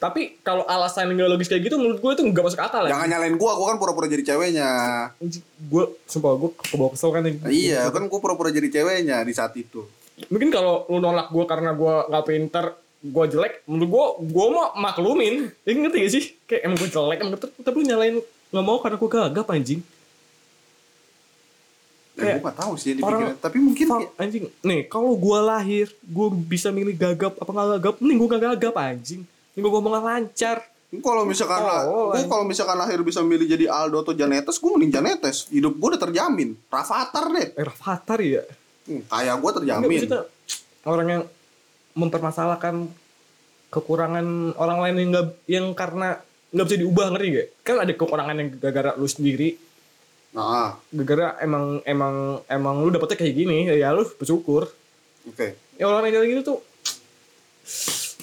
[SPEAKER 1] Tapi kalau alasan yang logis kayak gitu menurut gue itu nggak masuk akal ya.
[SPEAKER 2] Jangan nyalain gua, gua kan pura-pura jadi ceweknya.
[SPEAKER 1] Gue sumpah gue kebawa kesel kan.
[SPEAKER 2] Nah, iya, kan gua pura-pura jadi ceweknya di saat itu.
[SPEAKER 1] Mungkin kalau lu nolak gue karena gue nggak pinter, gue jelek, menurut gue gue mau maklumin. Ya, ngerti gak sih? Kayak emang gue jelek, emang tapi, tapi lu nyalain nggak mau karena gue gagap anjing.
[SPEAKER 2] Ya,
[SPEAKER 1] Kayak
[SPEAKER 2] Nah, gua gak tahu sih yang
[SPEAKER 1] orang-
[SPEAKER 2] dipikirin. Tapi mungkin
[SPEAKER 1] Fuck, anjing. Nih kalau gue lahir, gue bisa milih gagap apa nggak gagap. Mending gue nggak gagap anjing. Mending gue ngomongnya lancar.
[SPEAKER 2] kalau misalkan lah,
[SPEAKER 1] Oh,
[SPEAKER 2] gua
[SPEAKER 1] anjing.
[SPEAKER 2] kalau misalkan lahir bisa milih jadi Aldo atau Janetes, gua mending Janetes. Hidup gua udah terjamin. Rafathar deh.
[SPEAKER 1] Eh, Rafathar ya.
[SPEAKER 2] Hmm, kayak gua
[SPEAKER 1] Nggak,
[SPEAKER 2] terjamin.
[SPEAKER 1] maksudnya, orang yang mempermasalahkan kekurangan orang lain yang nggak yang karena nggak bisa diubah ngerti gak? Kan ada kekurangan yang gara-gara lu sendiri,
[SPEAKER 2] Nah,
[SPEAKER 1] gara-gara emang emang emang lu dapetnya kayak gini, ya lu bersyukur.
[SPEAKER 2] oke.
[SPEAKER 1] Ya orang yang kayak gitu tuh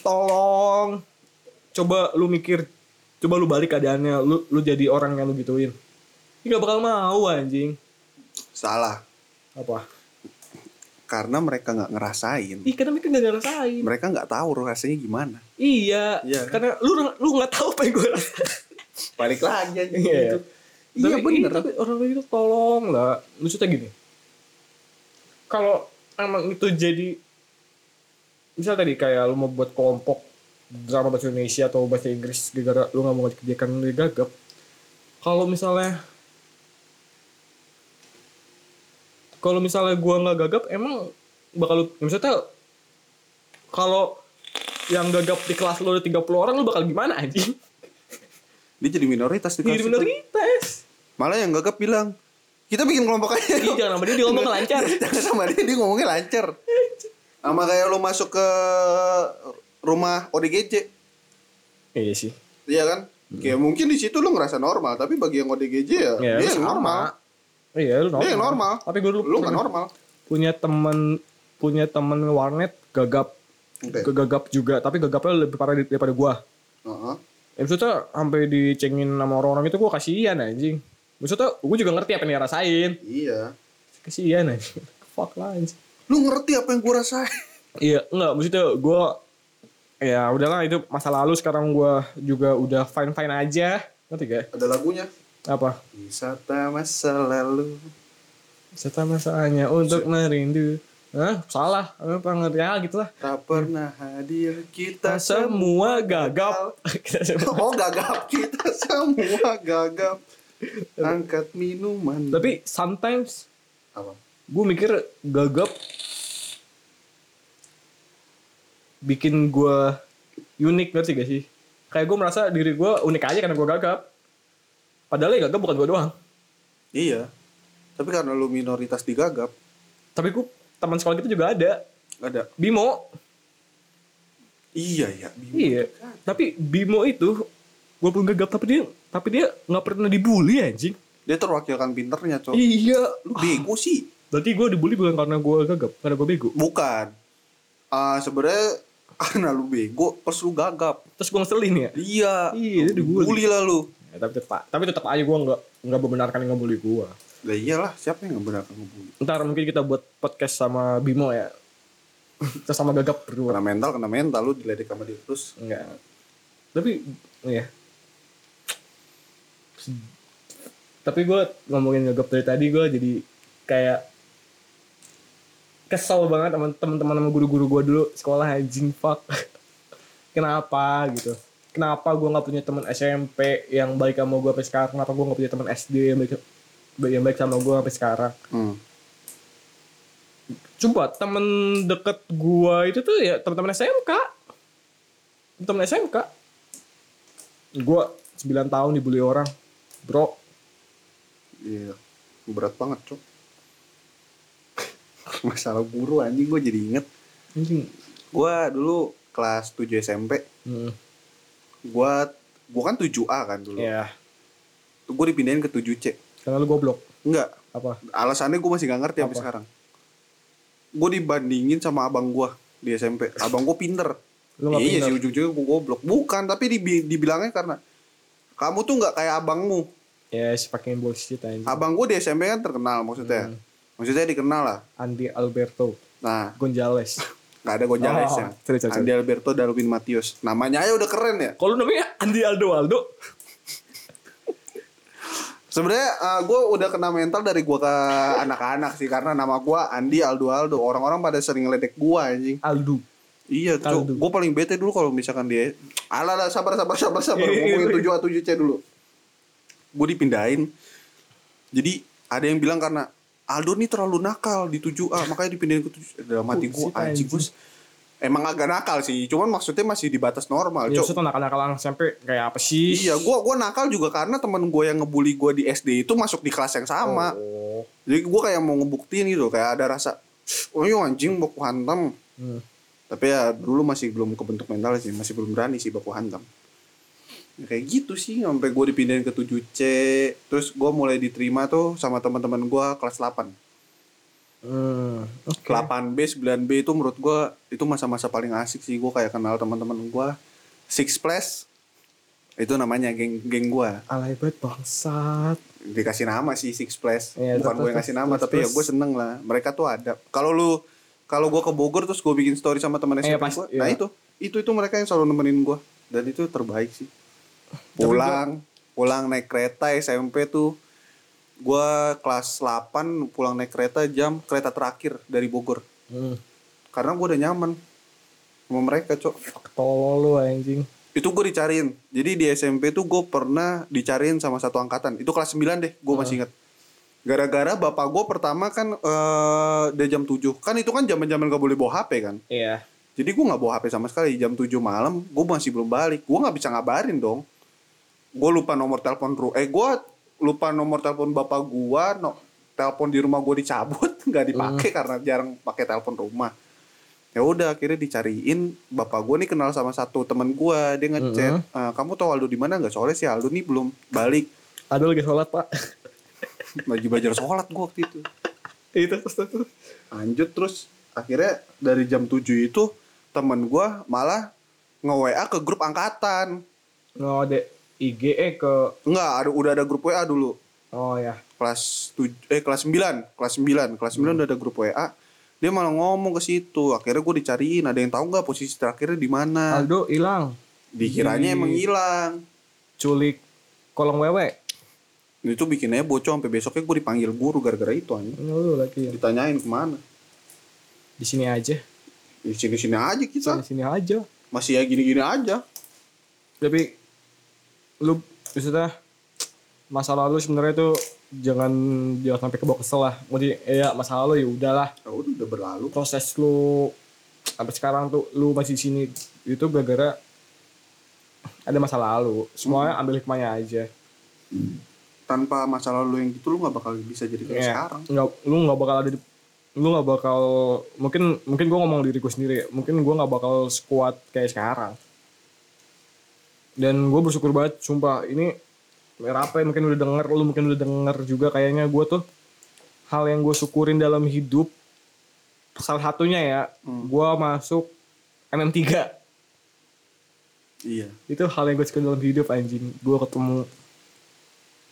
[SPEAKER 1] tolong coba lu mikir, coba lu balik keadaannya, lu lu jadi orang yang lu gituin. Ini gak bakal mau anjing.
[SPEAKER 2] Salah.
[SPEAKER 1] Apa?
[SPEAKER 2] Karena mereka nggak ngerasain.
[SPEAKER 1] Ih, karena mereka gak ngerasain.
[SPEAKER 2] Mereka nggak tahu rasanya gimana.
[SPEAKER 1] Iya,
[SPEAKER 2] Iya.
[SPEAKER 1] karena lu lu nggak tahu apa yang gue rasain.
[SPEAKER 2] Balik lagi aja
[SPEAKER 1] Iya.
[SPEAKER 2] Iya
[SPEAKER 1] tapi, iya,
[SPEAKER 2] bener.
[SPEAKER 1] tapi orang kayak gitu tolong lah. Maksudnya gini. Kalau emang itu jadi misal tadi kayak lu mau buat kelompok drama bahasa Indonesia atau bahasa Inggris gara-gara lu nggak mau kerjakan lu gagap. Kalau misalnya kalau misalnya gua nggak gagap emang bakal lu- misalnya kalau yang gagap di kelas lu ada 30 orang lu bakal gimana anjing?
[SPEAKER 2] Dia jadi minoritas di kelas
[SPEAKER 1] Jadi
[SPEAKER 2] itu.
[SPEAKER 1] minoritas.
[SPEAKER 2] Malah yang gagap bilang, Kita bikin kelompok aja.
[SPEAKER 1] Iya.
[SPEAKER 3] Ih, jangan sama dia dia ngomong lancar.
[SPEAKER 2] Jangan sama dia, dia ngomongnya lancar. Sama kayak lu masuk ke rumah ODGJ,
[SPEAKER 1] Iya sih.
[SPEAKER 2] iya kan?
[SPEAKER 1] Hmm.
[SPEAKER 2] Kayak mungkin di situ lu ngerasa normal, tapi bagi yang ODGJ ya,
[SPEAKER 1] Iya,
[SPEAKER 2] dia
[SPEAKER 1] lu
[SPEAKER 2] yang
[SPEAKER 1] sama.
[SPEAKER 2] normal.
[SPEAKER 1] Iya, lu normal.
[SPEAKER 2] Iya, normal.
[SPEAKER 1] Tapi gue dulu
[SPEAKER 2] Lu nggak
[SPEAKER 1] pernah
[SPEAKER 2] normal.
[SPEAKER 1] punya temen punya temen warnet gagap
[SPEAKER 2] Oke.
[SPEAKER 1] kegagap juga, tapi gagapnya lebih parah di- daripada gua.
[SPEAKER 2] Heeh.
[SPEAKER 1] Ya, maksudnya sampai dicengin sama orang-orang itu gua kasihan anjing. Maksudnya gua juga ngerti apa yang dia rasain.
[SPEAKER 2] Iya.
[SPEAKER 1] Kasihan anjing. <laughs> Fuck lah anjing.
[SPEAKER 2] Lu ngerti apa yang gua rasain?
[SPEAKER 1] Iya, enggak maksudnya gua ya udahlah itu masa lalu sekarang gua juga udah fine-fine aja. Ngerti gak?
[SPEAKER 2] Ada lagunya.
[SPEAKER 1] Apa?
[SPEAKER 2] Wisata masa lalu.
[SPEAKER 1] Serta masanya untuk merindu. Hah? Salah. Apa ngerti ya gitu lah.
[SPEAKER 2] Tak pernah hadir
[SPEAKER 1] Kita <laughs>
[SPEAKER 2] kita semua.
[SPEAKER 1] semua gagap. Kita semua-
[SPEAKER 2] Oh gagap kita semua gagap. Angkat minuman.
[SPEAKER 1] <laughs> Tapi sometimes
[SPEAKER 2] apa?
[SPEAKER 1] gue mikir gagap bikin gue unik ngerti gak sih kayak gue merasa diri gue unik aja karena gue gagap padahal ya gagap bukan gue doang
[SPEAKER 2] Iya. Tapi karena lu minoritas di gagap,
[SPEAKER 1] tapi gue teman sekolah kita juga ada
[SPEAKER 2] ada.
[SPEAKER 1] Bimo
[SPEAKER 2] Iya ya.
[SPEAKER 1] iya tapi Bimo itu walaupun gagap tapi dia tapi dia nggak pernah dibully anjing
[SPEAKER 2] Dia terwakilkan pinternya, Cok.
[SPEAKER 1] iya
[SPEAKER 2] Lu bego sih.
[SPEAKER 1] berarti gue dibully bukan karena gue gagap karena gue bego
[SPEAKER 2] Bukan. Ah, sebenarnya <laughs> karena lu bego, terus lu gagap.
[SPEAKER 1] terus gue ngeselin ya
[SPEAKER 2] Iya.
[SPEAKER 1] Iya, dia
[SPEAKER 2] Lu
[SPEAKER 1] dibully.
[SPEAKER 2] dibully lah lu.
[SPEAKER 1] Ya, tapi tetap tapi tetap aja gue nggak nggak membenarkan yang ngebully gue
[SPEAKER 2] Lah iyalah, siapa yang ngebenarkan ngebully?
[SPEAKER 1] ntar mungkin kita buat podcast sama Bimo <laughs> ya kita sama gagap berdua
[SPEAKER 2] Kena mental, kena mental lu diledek sama dia terus.
[SPEAKER 1] enggak tapi ya tapi gue ngomongin gagap dari tadi gue jadi kayak kesel banget sama teman-teman sama guru-guru gue dulu sekolah anjing fuck <laughs> kenapa gitu kenapa gue nggak punya teman SMP yang baik sama gue sampai sekarang kenapa gue nggak punya teman SD yang baik yang baik sama gue sampai sekarang
[SPEAKER 2] Hmm.
[SPEAKER 1] coba temen deket gua itu tuh ya teman-teman SMK teman SMK gua 9 tahun dibully orang bro
[SPEAKER 2] Iya. Berat banget, Cok. <laughs> Masalah guru anjing gue jadi inget.
[SPEAKER 1] anjing
[SPEAKER 2] Gue dulu kelas 7 SMP,
[SPEAKER 1] hmm.
[SPEAKER 2] gue gue kan 7A kan dulu.
[SPEAKER 1] ya
[SPEAKER 2] Gue dipindahin ke 7C.
[SPEAKER 1] karena lu goblok
[SPEAKER 2] Enggak,
[SPEAKER 1] apa
[SPEAKER 2] alasannya gue masih gak ngerti sampai
[SPEAKER 1] Apa?
[SPEAKER 2] sekarang. Gue dibandingin sama abang gue di SMP. Abang gue pinter.
[SPEAKER 1] Lu nggak
[SPEAKER 2] iya
[SPEAKER 1] pinter.
[SPEAKER 2] sih ujung-ujungnya gue goblok. Bukan, tapi dibi- dibilangnya karena kamu tuh nggak kayak abangmu.
[SPEAKER 1] ya yes, pakai bullshit anjing
[SPEAKER 2] Abang gue di SMP kan terkenal maksudnya.
[SPEAKER 1] Hmm.
[SPEAKER 2] Maksudnya dikenal lah.
[SPEAKER 1] Andi Alberto
[SPEAKER 2] Nah,
[SPEAKER 1] Gonzales
[SPEAKER 2] nggak ada Gonzales
[SPEAKER 1] Oh,
[SPEAKER 2] ya.
[SPEAKER 1] sorry, sorry,
[SPEAKER 2] Andi Alberto Darwin Matius. Namanya aja udah keren ya.
[SPEAKER 1] <laughs> kalau lu namanya Andi Aldo Aldo
[SPEAKER 2] Sebenarnya gue udah kena mental dari gue ke anak-anak sih karena nama gue Andi Aldo Aldo. Orang-orang pada sering ledek gue anjing.
[SPEAKER 1] Aldo
[SPEAKER 2] Iya,
[SPEAKER 1] Aldo.
[SPEAKER 2] tuh. Gue paling bete dulu kalau misalkan dia. Alah, alah, sabar, sabar, sabar, sabar.
[SPEAKER 1] Iya, iya,
[SPEAKER 2] Ngomongin
[SPEAKER 1] iya.
[SPEAKER 2] tujuh atau tujuh c dulu. Gue dipindahin. Jadi ada yang bilang karena Aldo nih terlalu nakal di 7A makanya dipindahin ke 7 dalam hati gue
[SPEAKER 1] Bullshit,
[SPEAKER 2] anjing gue
[SPEAKER 1] anjing.
[SPEAKER 2] emang agak nakal sih cuman maksudnya masih di batas normal
[SPEAKER 1] ya
[SPEAKER 2] Cok.
[SPEAKER 1] maksudnya nakal-nakal orang SMP kayak apa sih
[SPEAKER 2] Iya, gua gua nakal juga karena teman gue yang ngebully gue di SD itu masuk di kelas yang sama.
[SPEAKER 1] oh.
[SPEAKER 2] Jadi gue kayak mau ngebuktiin gitu, kayak ada rasa, oh iya anjing baku hantam.
[SPEAKER 1] Hmm.
[SPEAKER 2] Tapi ya dulu masih belum kebentuk mental sih, masih belum berani sih baku hantam. Ya, kayak gitu sih, sampai gue dipindahin ke 7C, terus gue mulai diterima tuh sama teman-teman gue kelas 8.
[SPEAKER 1] Hmm. oke
[SPEAKER 2] 8B, 9B itu menurut gue itu masa-masa paling asik sih, gue kayak kenal teman-teman gue. Six Plus itu namanya geng geng gue
[SPEAKER 1] alay banget bangsat
[SPEAKER 2] dikasih nama sih Six Flags
[SPEAKER 1] Iya,
[SPEAKER 2] bukan
[SPEAKER 1] terus,
[SPEAKER 2] gue yang ngasih
[SPEAKER 1] terus,
[SPEAKER 2] nama
[SPEAKER 1] terus,
[SPEAKER 2] tapi ya
[SPEAKER 1] terus.
[SPEAKER 2] gue seneng lah mereka tuh ada kalau lu kalau gue ke Bogor terus gue bikin story sama temen
[SPEAKER 1] Iya,
[SPEAKER 2] SMP
[SPEAKER 1] pasti,
[SPEAKER 2] gue nah
[SPEAKER 1] iya.
[SPEAKER 2] itu itu itu mereka yang selalu nemenin gue dan itu terbaik sih pulang pulang naik kereta SMP tuh gue kelas 8 pulang naik kereta jam kereta terakhir dari Bogor
[SPEAKER 1] hmm.
[SPEAKER 2] karena gue udah nyaman sama mereka cok
[SPEAKER 1] tolol lu anjing
[SPEAKER 2] itu gue dicariin jadi di SMP tuh gue pernah dicariin sama satu angkatan itu kelas 9 deh gue masih inget gara-gara bapak gue pertama kan eh udah jam 7 kan itu kan zaman zaman gak boleh bawa HP kan
[SPEAKER 1] iya
[SPEAKER 2] jadi gue nggak bawa HP sama sekali jam 7 malam gue masih belum balik gue nggak bisa ngabarin dong gue lupa nomor telepon ru eh gue lupa nomor telepon bapak gue no telepon di rumah gue dicabut <laughs> nggak dipakai karena jarang pakai telepon rumah ya udah akhirnya dicariin bapak gue nih kenal sama satu teman gue dia ngechat "Ah, kamu tahu Aldo di mana nggak soalnya si Aldo nih belum balik <laughs>
[SPEAKER 1] Ada lagi sholat pak. <laughs>
[SPEAKER 2] lagi belajar sholat gue waktu itu
[SPEAKER 1] itu terus terus. terus.
[SPEAKER 2] lanjut terus akhirnya dari jam 7 itu temen gue malah nge WA ke grup angkatan
[SPEAKER 1] No, de IGE eh, ke
[SPEAKER 2] Enggak, ada udah ada grup WA dulu.
[SPEAKER 1] oh ya.
[SPEAKER 2] Kelas 7 eh kelas 9, kelas 9, kelas 9 udah ada grup WA. Dia malah ngomong ke situ. Akhirnya gue dicariin, ada yang tahu nggak posisi terakhirnya di mana?
[SPEAKER 1] Aldo hilang,
[SPEAKER 2] Dikiranya
[SPEAKER 1] di-
[SPEAKER 2] emang hilang.
[SPEAKER 1] culik kolong wewe.
[SPEAKER 2] Itu bikinnya bocor sampai besoknya gue dipanggil guru gara-gara itu anjing.
[SPEAKER 1] Ini lu lagi ya.
[SPEAKER 2] Ditanyain kemana?
[SPEAKER 1] Di sini aja.
[SPEAKER 2] Di sini-sini aja kita.
[SPEAKER 1] Di sini aja.
[SPEAKER 2] Masih ya gini-gini aja.
[SPEAKER 1] Tapi lu maksudnya masa lalu sebenarnya tuh jangan jangan sampai kebawa kesel lah. Maksudnya ya masa lalu ya udahlah.
[SPEAKER 2] Ya udah, udah berlalu.
[SPEAKER 1] Proses lu sampai sekarang tuh lu masih di sini itu gara-gara ada masa lalu. Semuanya ambil hikmahnya aja.
[SPEAKER 2] Tanpa masa lalu yang gitu lu nggak bakal bisa jadi kayak
[SPEAKER 1] Iya.
[SPEAKER 2] sekarang.
[SPEAKER 1] nggak lu nggak bakal ada di lu nggak bakal mungkin mungkin gue ngomong diriku sendiri ya, mungkin gue nggak bakal sekuat kayak sekarang dan gue bersyukur banget sumpah ini apa ya, mungkin udah denger lu mungkin udah denger juga kayaknya gue tuh hal yang gue syukurin dalam hidup salah satunya ya
[SPEAKER 2] Hmm.
[SPEAKER 1] gue masuk MM3
[SPEAKER 2] Iya.
[SPEAKER 1] itu hal yang gue syukurin dalam hidup anjing gue ketemu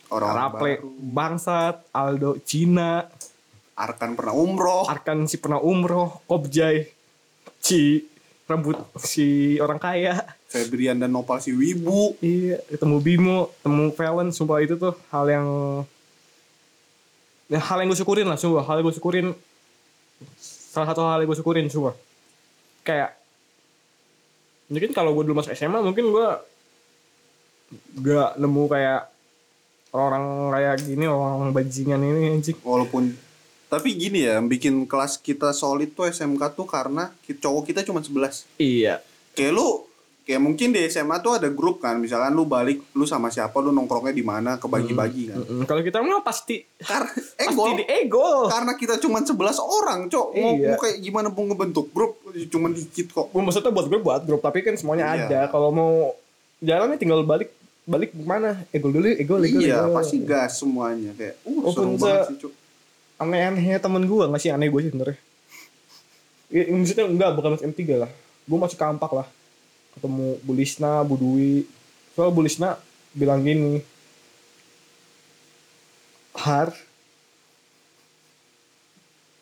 [SPEAKER 2] Orang
[SPEAKER 1] Raple
[SPEAKER 2] baru.
[SPEAKER 1] Bangsat Aldo Cina
[SPEAKER 2] Arkan pernah umroh.
[SPEAKER 1] Arkan si pernah umroh, Kobjai, si rambut si orang kaya,
[SPEAKER 2] Febrian dan Nopal si Wibu.
[SPEAKER 1] iya, ketemu Bimo, ketemu Valen, sumpah itu tuh hal yang ya, hal yang gue syukurin lah, sumpah hal yang gue syukurin salah satu hal yang gue syukurin sumpah kayak mungkin kalau gue dulu masuk SMA mungkin gue gak nemu kayak orang kayak gini orang bajingan ini anjing
[SPEAKER 2] walaupun tapi gini ya yang bikin kelas kita solid tuh SMK tuh karena ki- cowok kita cuma 11
[SPEAKER 1] iya
[SPEAKER 2] kayak lu kayak mungkin di SMA tuh ada grup kan misalkan lu balik lu sama siapa lu nongkrongnya di mana kebagi-bagi kan
[SPEAKER 1] kalau kita mah pasti <laughs>
[SPEAKER 2] karena
[SPEAKER 1] Hmm. pasti
[SPEAKER 2] ego
[SPEAKER 1] di ego
[SPEAKER 2] <laughs> karena kita cuma 11 orang cok mau,
[SPEAKER 1] Iya.
[SPEAKER 2] mau kayak gimana pun ngebentuk grup cuma dikit kok
[SPEAKER 1] Gua maksudnya buat gue buat grup tapi kan semuanya
[SPEAKER 2] Iya.
[SPEAKER 1] ada kalau mau jalannya tinggal balik balik mana ego dulu ego ego
[SPEAKER 2] iya
[SPEAKER 1] ego.
[SPEAKER 2] pasti gas semuanya kayak uh seru
[SPEAKER 1] Walaupun
[SPEAKER 2] banget
[SPEAKER 1] se-
[SPEAKER 2] sih cok
[SPEAKER 1] aneh-anehnya temen gue nggak sih aneh gue sih sebenarnya Ya, maksudnya enggak bukan masuk M3 lah gue masuk kampak lah ketemu Bu Lisna Bu Dwi soal Bu Lisna bilang gini Har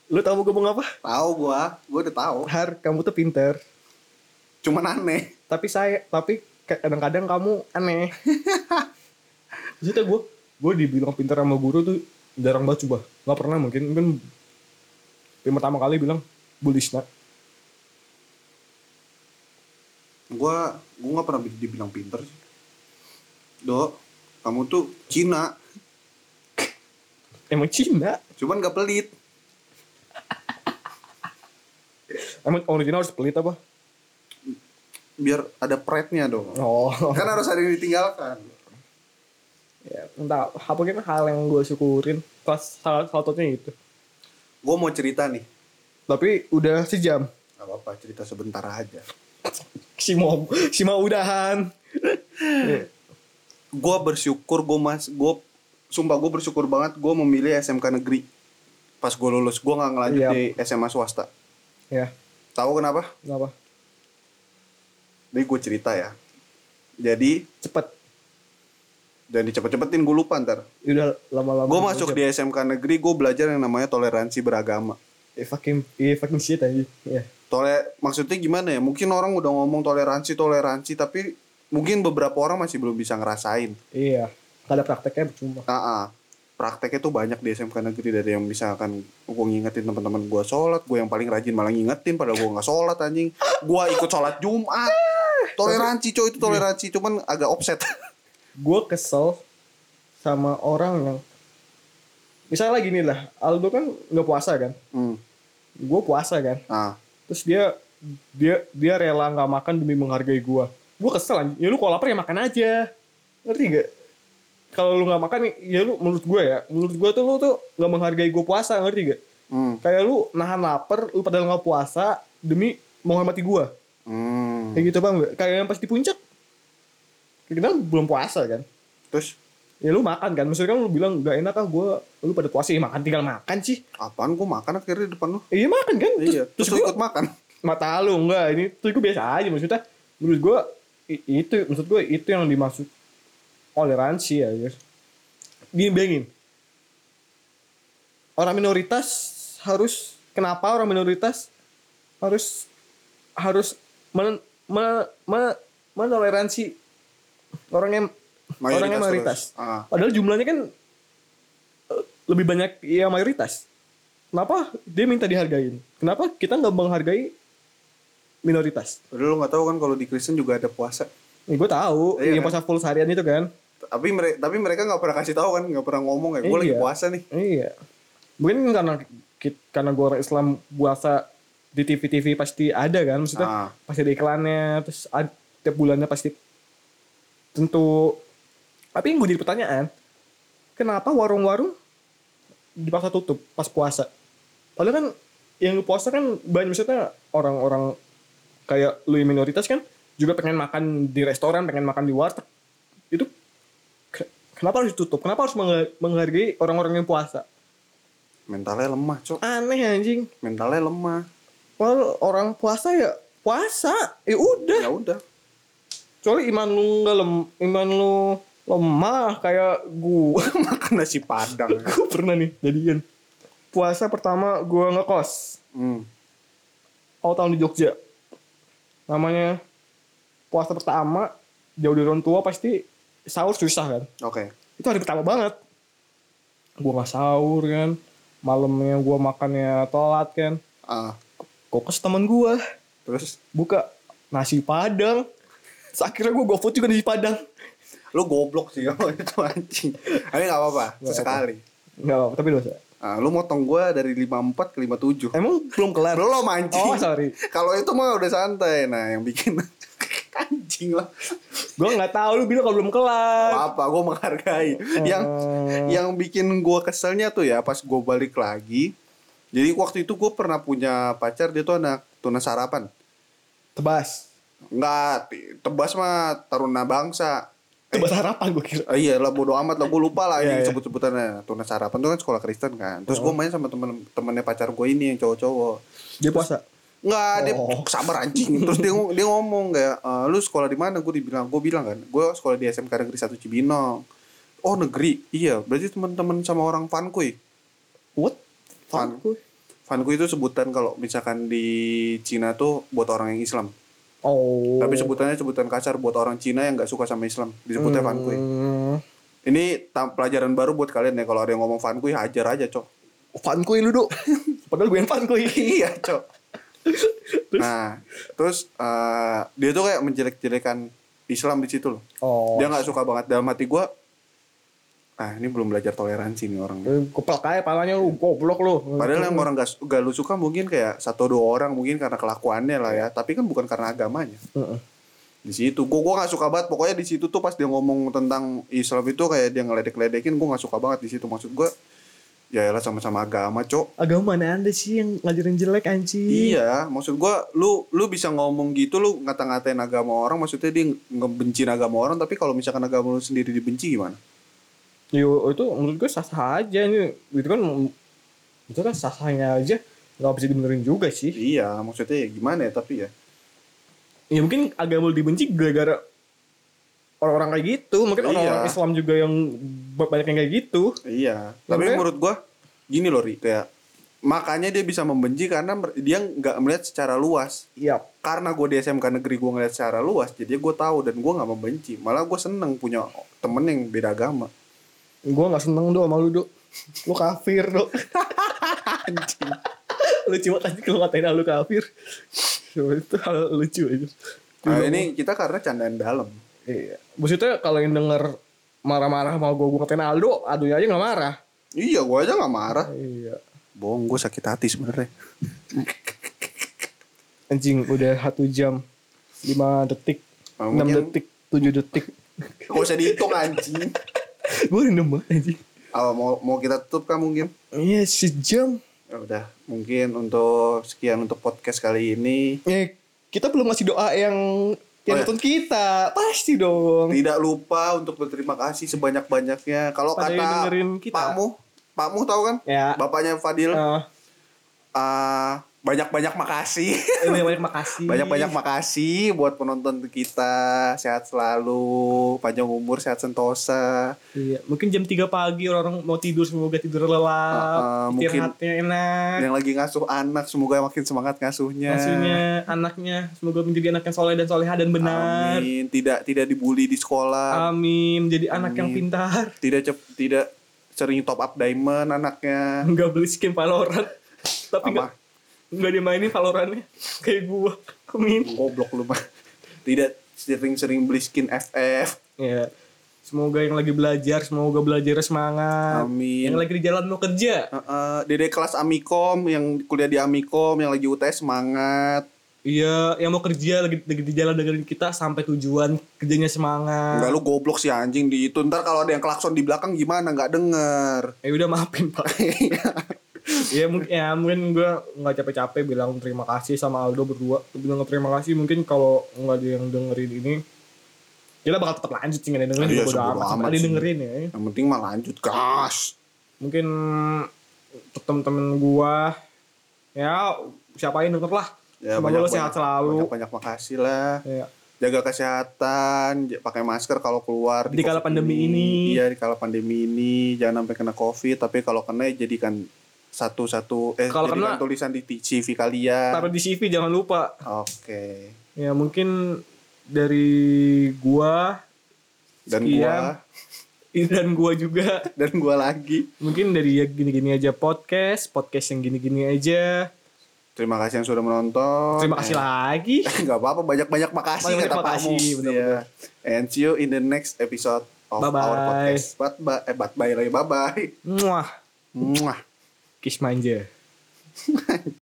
[SPEAKER 1] lu tau gue ngomong apa
[SPEAKER 2] tahu gua gua udah tahu
[SPEAKER 1] Har kamu tuh pinter
[SPEAKER 2] cuman aneh
[SPEAKER 1] tapi saya tapi kadang-kadang kamu aneh <laughs> maksudnya gue gue dibilang pintar sama guru tuh jarang banget coba nggak pernah mungkin mungkin yang pertama kali bilang Bu Lisna
[SPEAKER 2] gua gua nggak pernah dibilang pinter sih dok kamu tuh Cina
[SPEAKER 1] emang Cina
[SPEAKER 2] cuman gak pelit
[SPEAKER 1] emang original harus pelit apa
[SPEAKER 2] biar ada pride-nya dong
[SPEAKER 1] oh <laughs>
[SPEAKER 2] kan harus ada yang ditinggalkan
[SPEAKER 1] ya, entah apa mungkin hal yang gue syukurin kelas salah salah satunya itu
[SPEAKER 2] gue mau cerita nih
[SPEAKER 1] tapi udah sejam
[SPEAKER 2] gak apa-apa cerita sebentar aja
[SPEAKER 1] si mau si mau udahan Ya,
[SPEAKER 2] gue bersyukur gue mas gue sumpah gue bersyukur banget gue memilih SMK negeri pas gue lulus gue nggak ngelanjut
[SPEAKER 1] Iya.
[SPEAKER 2] di SMA swasta
[SPEAKER 1] ya
[SPEAKER 2] tahu kenapa
[SPEAKER 1] kenapa
[SPEAKER 2] jadi gue cerita ya jadi
[SPEAKER 1] cepet
[SPEAKER 2] dan dicepet-cepetin gue lupa ntar
[SPEAKER 1] udah lama-lama
[SPEAKER 2] gue masuk di SMK negeri gue belajar yang namanya toleransi beragama
[SPEAKER 1] Eh, fucking eh, fucking shit aja ya
[SPEAKER 2] tole maksudnya gimana ya mungkin orang udah ngomong toleransi toleransi tapi mungkin beberapa orang masih belum bisa ngerasain
[SPEAKER 1] iya Gak ada prakteknya cuma
[SPEAKER 2] Aa, prakteknya tuh banyak di SMK negeri dari yang misalkan gue ngingetin teman-teman gue sholat gue yang paling rajin malah ngingetin padahal gue nggak sholat anjing gue ikut sholat Jumat toleransi coy itu toleransi cuman agak offset
[SPEAKER 1] gue kesel sama orang yang misalnya gini lah Aldo kan nggak puasa kan
[SPEAKER 2] hmm.
[SPEAKER 1] gue puasa kan
[SPEAKER 2] nah
[SPEAKER 1] terus dia dia dia rela nggak makan demi menghargai gue gue kesel anjing ya lu kalau lapar ya makan aja ngerti gak kalau lu nggak makan ya lu menurut gue ya menurut gue tuh lu tuh nggak menghargai gue puasa ngerti gak
[SPEAKER 2] Hmm.
[SPEAKER 1] kayak lu nahan lapar lu padahal nggak puasa demi menghormati gue
[SPEAKER 2] Hmm.
[SPEAKER 1] kayak gitu bang kayak yang pas di puncak kita belum puasa kan
[SPEAKER 2] Terus
[SPEAKER 1] ya lu makan kan maksudnya kan lu bilang gak enak ah gue lu pada puasa ya makan tinggal makan sih
[SPEAKER 2] apaan gue makan akhirnya di depan lu?
[SPEAKER 1] iya makan kan terus,
[SPEAKER 2] Iya.
[SPEAKER 1] terus
[SPEAKER 2] Terus, lu
[SPEAKER 1] gue
[SPEAKER 2] ikut makan.
[SPEAKER 1] mata lu enggak ini tuh gue biasa aja maksudnya menurut gue i- itu maksud gue itu yang dimaksud toleransi ya guys dibayangin orang minoritas harus kenapa orang minoritas harus harus men, me- me- menoleransi orang yang orang yang mayoritas
[SPEAKER 2] terus. Ah.
[SPEAKER 1] Padahal jumlahnya kan eh, lebih banyak yang mayoritas. Kenapa dia minta dihargain? Kenapa kita nggak menghargai minoritas?
[SPEAKER 2] Padahal lu nggak tahu kan kalau di Kristen juga ada puasa.
[SPEAKER 1] Ya, gue tahu
[SPEAKER 2] Iya
[SPEAKER 1] yang
[SPEAKER 2] kan?
[SPEAKER 1] puasa full seharian itu kan.
[SPEAKER 2] Tapi mereka tapi mereka nggak pernah kasih tahu kan, nggak pernah ngomong ya. Gue lagi
[SPEAKER 1] Iya.
[SPEAKER 2] puasa nih.
[SPEAKER 1] Iya. Mungkin karena ki- karena gue orang Islam puasa di TV-TV pasti ada kan maksudnya
[SPEAKER 2] Ah.
[SPEAKER 1] pasti ada iklannya terus ad- tiap bulannya pasti tentu tapi yang gue jadi pertanyaan kenapa warung-warung dipaksa tutup pas puasa padahal kan yang puasa kan banyak maksudnya orang-orang kayak lu yang minoritas kan juga pengen makan di restoran pengen makan di warteg itu ke- kenapa harus ditutup kenapa harus mengha- menghargai orang-orang yang puasa
[SPEAKER 2] Mentalnya lemah, cok.
[SPEAKER 1] aneh anjing
[SPEAKER 2] Mentalnya lemah.
[SPEAKER 1] Well, orang puasa ya puasa ya udah
[SPEAKER 2] Ya udah. <laughs>
[SPEAKER 1] Kecuali iman lu nggak lem, iman lu lemah kayak gua. <laughs>
[SPEAKER 2] makan nasi padang.
[SPEAKER 1] gua pernah nih jadian. Puasa pertama gua ngekos.
[SPEAKER 2] Hmm.
[SPEAKER 1] Awal tahun di Jogja. Namanya puasa pertama jauh dari orang tua pasti sahur susah kan.
[SPEAKER 2] Oke.
[SPEAKER 1] Itu hari pertama banget. Gua nggak sahur kan. Malamnya gua makannya telat kan.
[SPEAKER 2] Ah,
[SPEAKER 1] Kokos temen gua
[SPEAKER 2] terus
[SPEAKER 1] buka nasi padang. Terus akhirnya gua gofood juga nasi padang.
[SPEAKER 2] lu goblok sih kalau <laughs> itu anjing. Tapi nggak apa-apa, sesekali.
[SPEAKER 1] Nggak apa-apa, tapi dosa.
[SPEAKER 2] Ah, lu motong gua dari 54 ke 57.
[SPEAKER 1] Emang belum kelar.
[SPEAKER 2] Belum anjing.
[SPEAKER 1] Oh, sorry.
[SPEAKER 2] <laughs> Kalau itu mah udah santai. Nah, yang bikin <laughs> anjing lah.
[SPEAKER 1] Gue nggak tahu lu bilang kalau belum kelar.
[SPEAKER 2] Apa, gua menghargai.
[SPEAKER 1] Hmm.
[SPEAKER 2] Yang yang bikin gua keselnya tuh ya pas gua balik lagi. Jadi waktu itu gua pernah punya pacar dia tuh anak tuna sarapan.
[SPEAKER 1] Tebas.
[SPEAKER 2] Enggak, tebas mah taruna bangsa.
[SPEAKER 1] Tebas harapan gue kira.
[SPEAKER 2] Ah, iya lah bodo amat lah gue lupa
[SPEAKER 1] Iya,
[SPEAKER 2] lah
[SPEAKER 1] Oh.
[SPEAKER 2] ini
[SPEAKER 1] iya.
[SPEAKER 2] sebut-sebutannya Tuna Sarapan tuh kan sekolah Kristen kan Terus gue main sama temen temennya pacar gue ini yang cowok-cowok
[SPEAKER 1] Dia puasa.
[SPEAKER 2] Enggak, dia
[SPEAKER 1] Oh.
[SPEAKER 2] sabar anjing Terus dia, ngo- dia ngomong kayak "Eh, Lu sekolah di mana? Gue dibilang, gue bilang kan Gue sekolah di SMK Negeri 1 Cibinong Oh negeri, iya berarti temen-temen sama orang fankuy
[SPEAKER 1] What?
[SPEAKER 2] Fan. Fankuy itu sebutan kalau misalkan di Cina tuh buat orang yang Islam
[SPEAKER 1] Oh.
[SPEAKER 2] Tapi sebutannya sebutan kasar buat orang Cina yang gak suka sama Islam Disebutnya fankuy
[SPEAKER 1] Hmm.
[SPEAKER 2] Ini tam- pelajaran baru buat kalian ya Kalau ada yang ngomong fankuy hajar aja cok
[SPEAKER 1] Fan kui lu <laughs> dok. Padahal gue yang fan kui.
[SPEAKER 2] iya cok nah terus eh, dia tuh kayak menjelek-jelekan Islam di situ loh
[SPEAKER 1] <laughs> Oh.
[SPEAKER 2] dia nggak suka banget dalam hati gua ah ini belum belajar toleransi nih orang
[SPEAKER 1] Keplak aja palanya lu. Goblok lu.
[SPEAKER 2] padahal yang orang gak, gak lu suka mungkin kayak satu dua orang mungkin karena kelakuannya lah ya tapi kan bukan karena agamanya
[SPEAKER 1] Heeh.
[SPEAKER 2] di situ gua gua nggak suka banget pokoknya di situ tuh pas dia ngomong tentang Islam itu kayak dia ngeledek-ledekin gua nggak suka banget di situ maksud gua ya elah sama-sama agama cok
[SPEAKER 1] Agama mana anda sih yang ngajarin jelek anjing?
[SPEAKER 2] Iya, maksud gua lu lu bisa ngomong gitu lu ngata-ngatain agama orang maksudnya dia ngebencin agama orang tapi kalau misalkan agama lu sendiri dibenci gimana?
[SPEAKER 1] Yo Ya, oh, itu menurut gue sah-sah aja ini. Itu kan itu kan sah-sahnya aja. Gak bisa dibenerin juga sih.
[SPEAKER 2] Iya, maksudnya ya gimana ya tapi ya.
[SPEAKER 1] ya mungkin agama lu dibenci gara-gara orang-orang kayak gitu mungkin
[SPEAKER 2] Iya.
[SPEAKER 1] orang-orang Islam juga yang ba- banyak yang kayak gitu
[SPEAKER 2] Iya. Tapi
[SPEAKER 1] Makanya-
[SPEAKER 2] menurut gua gini loh Ri, kayak makanya dia bisa membenci karena mer- dia nggak melihat secara luas.
[SPEAKER 1] iya
[SPEAKER 2] Karena gue di SMK negeri gue ngeliat secara luas, jadi gue tahu dan gue nggak membenci. Malah gue seneng punya temen yang beda agama.
[SPEAKER 1] gue nggak seneng do sama lu do lu kafir do <laughs> Anjing. lucu banget tadi kalau ngatain lu kafir itu hal lucu aja
[SPEAKER 2] Nah, ini kita karena candaan dalam.
[SPEAKER 1] iya. maksudnya kalau yang denger marah-marah sama gue gue ngatain Aldo aduh aja nggak marah
[SPEAKER 2] Iya, gue aja nggak marah.
[SPEAKER 1] iya
[SPEAKER 2] Bohong, gue sakit hati sebenarnya.
[SPEAKER 1] anjing udah satu jam lima detik
[SPEAKER 2] Ah,
[SPEAKER 1] enam
[SPEAKER 2] mungkin-
[SPEAKER 1] detik <laughs> tujuh detik
[SPEAKER 2] Gak usah dihitung anjing.
[SPEAKER 1] gue random banget anjing
[SPEAKER 2] Apa mau mau kita tutup kah mungkin?
[SPEAKER 1] iya sejam
[SPEAKER 2] Ya udah, mungkin untuk sekian untuk podcast kali ini.
[SPEAKER 1] eh kita belum ngasih doa yang yang
[SPEAKER 2] Oh, iya.
[SPEAKER 1] nonton kita pasti dong
[SPEAKER 2] Tidak lupa untuk berterima kasih sebanyak-banyaknya. Kalau
[SPEAKER 1] Pada yang
[SPEAKER 2] kata
[SPEAKER 1] dengerin kita.
[SPEAKER 2] Pakmu, Pakmu tahu kan?
[SPEAKER 1] ya
[SPEAKER 2] Bapaknya Fadil.
[SPEAKER 1] eh,
[SPEAKER 2] Ah, banyak-banyak
[SPEAKER 1] <laughs>
[SPEAKER 2] makasih.
[SPEAKER 1] banyak-banyak Eh, makasih
[SPEAKER 2] Banyak-banyak makasih buat penonton kita. Sehat selalu, panjang umur, sehat sentosa.
[SPEAKER 1] Iya, mungkin jam 3 pagi orang-orang mau tidur semoga tidur
[SPEAKER 2] Ah, ah,
[SPEAKER 1] lelap,
[SPEAKER 2] mungkin-
[SPEAKER 1] istirahatnya enak.
[SPEAKER 2] Yang lagi ngasuh anak, semoga makin semangat
[SPEAKER 1] Iya.
[SPEAKER 2] ngasuhnya.
[SPEAKER 1] Maksudnya anaknya semoga menjadi anak yang soleh dan soleha dan benar. Ah. Amin.
[SPEAKER 2] Amin. Tidak tidak dibully di sekolah.
[SPEAKER 1] Menjadi anak yang
[SPEAKER 2] Amin.
[SPEAKER 1] pintar. <laughs>
[SPEAKER 2] Tidak cep- tidak sering top up diamond anaknya.
[SPEAKER 1] Enggak beli skin Valorant. Tapi
[SPEAKER 2] Sama
[SPEAKER 1] enggak enggak dimainin Valorantnya <laughs> kayak gua. Amin.
[SPEAKER 2] goblok lu mah. <laughs> Tidak sering-sering beli skin FF.
[SPEAKER 1] Ya. Semoga yang lagi belajar semoga belajar semangat.
[SPEAKER 2] Amin.
[SPEAKER 1] Yang lagi di jalan mau kerja.
[SPEAKER 2] Heeh, Dede kelas Amikom yang kuliah di Amikom yang lagi UTS semangat.
[SPEAKER 1] Iya, yang mau kerja lagi, lagi di jalan dengerin kita sampai tujuan kerjanya semangat.
[SPEAKER 2] Enggak lu goblok sih anjing di itu. Ntar kalau ada yang klakson di belakang gimana? Enggak denger. <laughs>
[SPEAKER 1] Eh udah maafin Pak. ya mungkin ya mungkin gue nggak capek-capek bilang terima kasih sama Aldo berdua bilang terima kasih mungkin kalau nggak ada yang dengerin ini kita bakal tetap lanjut sih nggak ada yang dengerin
[SPEAKER 2] Iya,
[SPEAKER 1] juga bodo
[SPEAKER 2] sebodo
[SPEAKER 1] amat. Sampai
[SPEAKER 2] amat
[SPEAKER 1] ada yang
[SPEAKER 2] sih.
[SPEAKER 1] dengerin ya
[SPEAKER 2] yang penting mah lanjut gas.
[SPEAKER 1] mungkin untuk temen-temen gue ya siapa yang denger lah
[SPEAKER 2] Ya,
[SPEAKER 1] semoga lo sehat selalu
[SPEAKER 2] Banyak banyak makasih lah.
[SPEAKER 1] ya.
[SPEAKER 2] Jaga kesehatan, j- pakai masker kalau keluar.
[SPEAKER 1] Di kala
[SPEAKER 2] COVID
[SPEAKER 1] pandemi ini.
[SPEAKER 2] Iya, di kala pandemi ini jangan sampai kena Covid, tapi kalau kena ya jadikan satu-satu eh
[SPEAKER 1] Kalau kena-
[SPEAKER 2] jadikan tulisan di t- CV kalian.
[SPEAKER 1] taruh di CV jangan lupa
[SPEAKER 2] Oke.
[SPEAKER 1] ya mungkin dari gua
[SPEAKER 2] Dan
[SPEAKER 1] Sekian.
[SPEAKER 2] gua
[SPEAKER 1] dan gua juga
[SPEAKER 2] dan gua lagi.
[SPEAKER 1] mungkin dari ya gini-gini aja podcast podcast yang gini-gini aja
[SPEAKER 2] Terima kasih yang sudah menonton.
[SPEAKER 1] Terima kasih
[SPEAKER 2] <laughs>
[SPEAKER 1] lagi.
[SPEAKER 2] Gak apa-apa, banyak-banyak makasih
[SPEAKER 1] Banyak-banyak
[SPEAKER 2] kata Pak
[SPEAKER 1] makasih,
[SPEAKER 2] Mus.
[SPEAKER 1] benar-benar.
[SPEAKER 2] Iya. And see you in the next episode of
[SPEAKER 1] Bye-bye.
[SPEAKER 2] our podcast. Bye-bye. Eh, bye-bye lagi. Bye-bye.
[SPEAKER 1] Muah.
[SPEAKER 2] Mwah.
[SPEAKER 1] Kiss manja.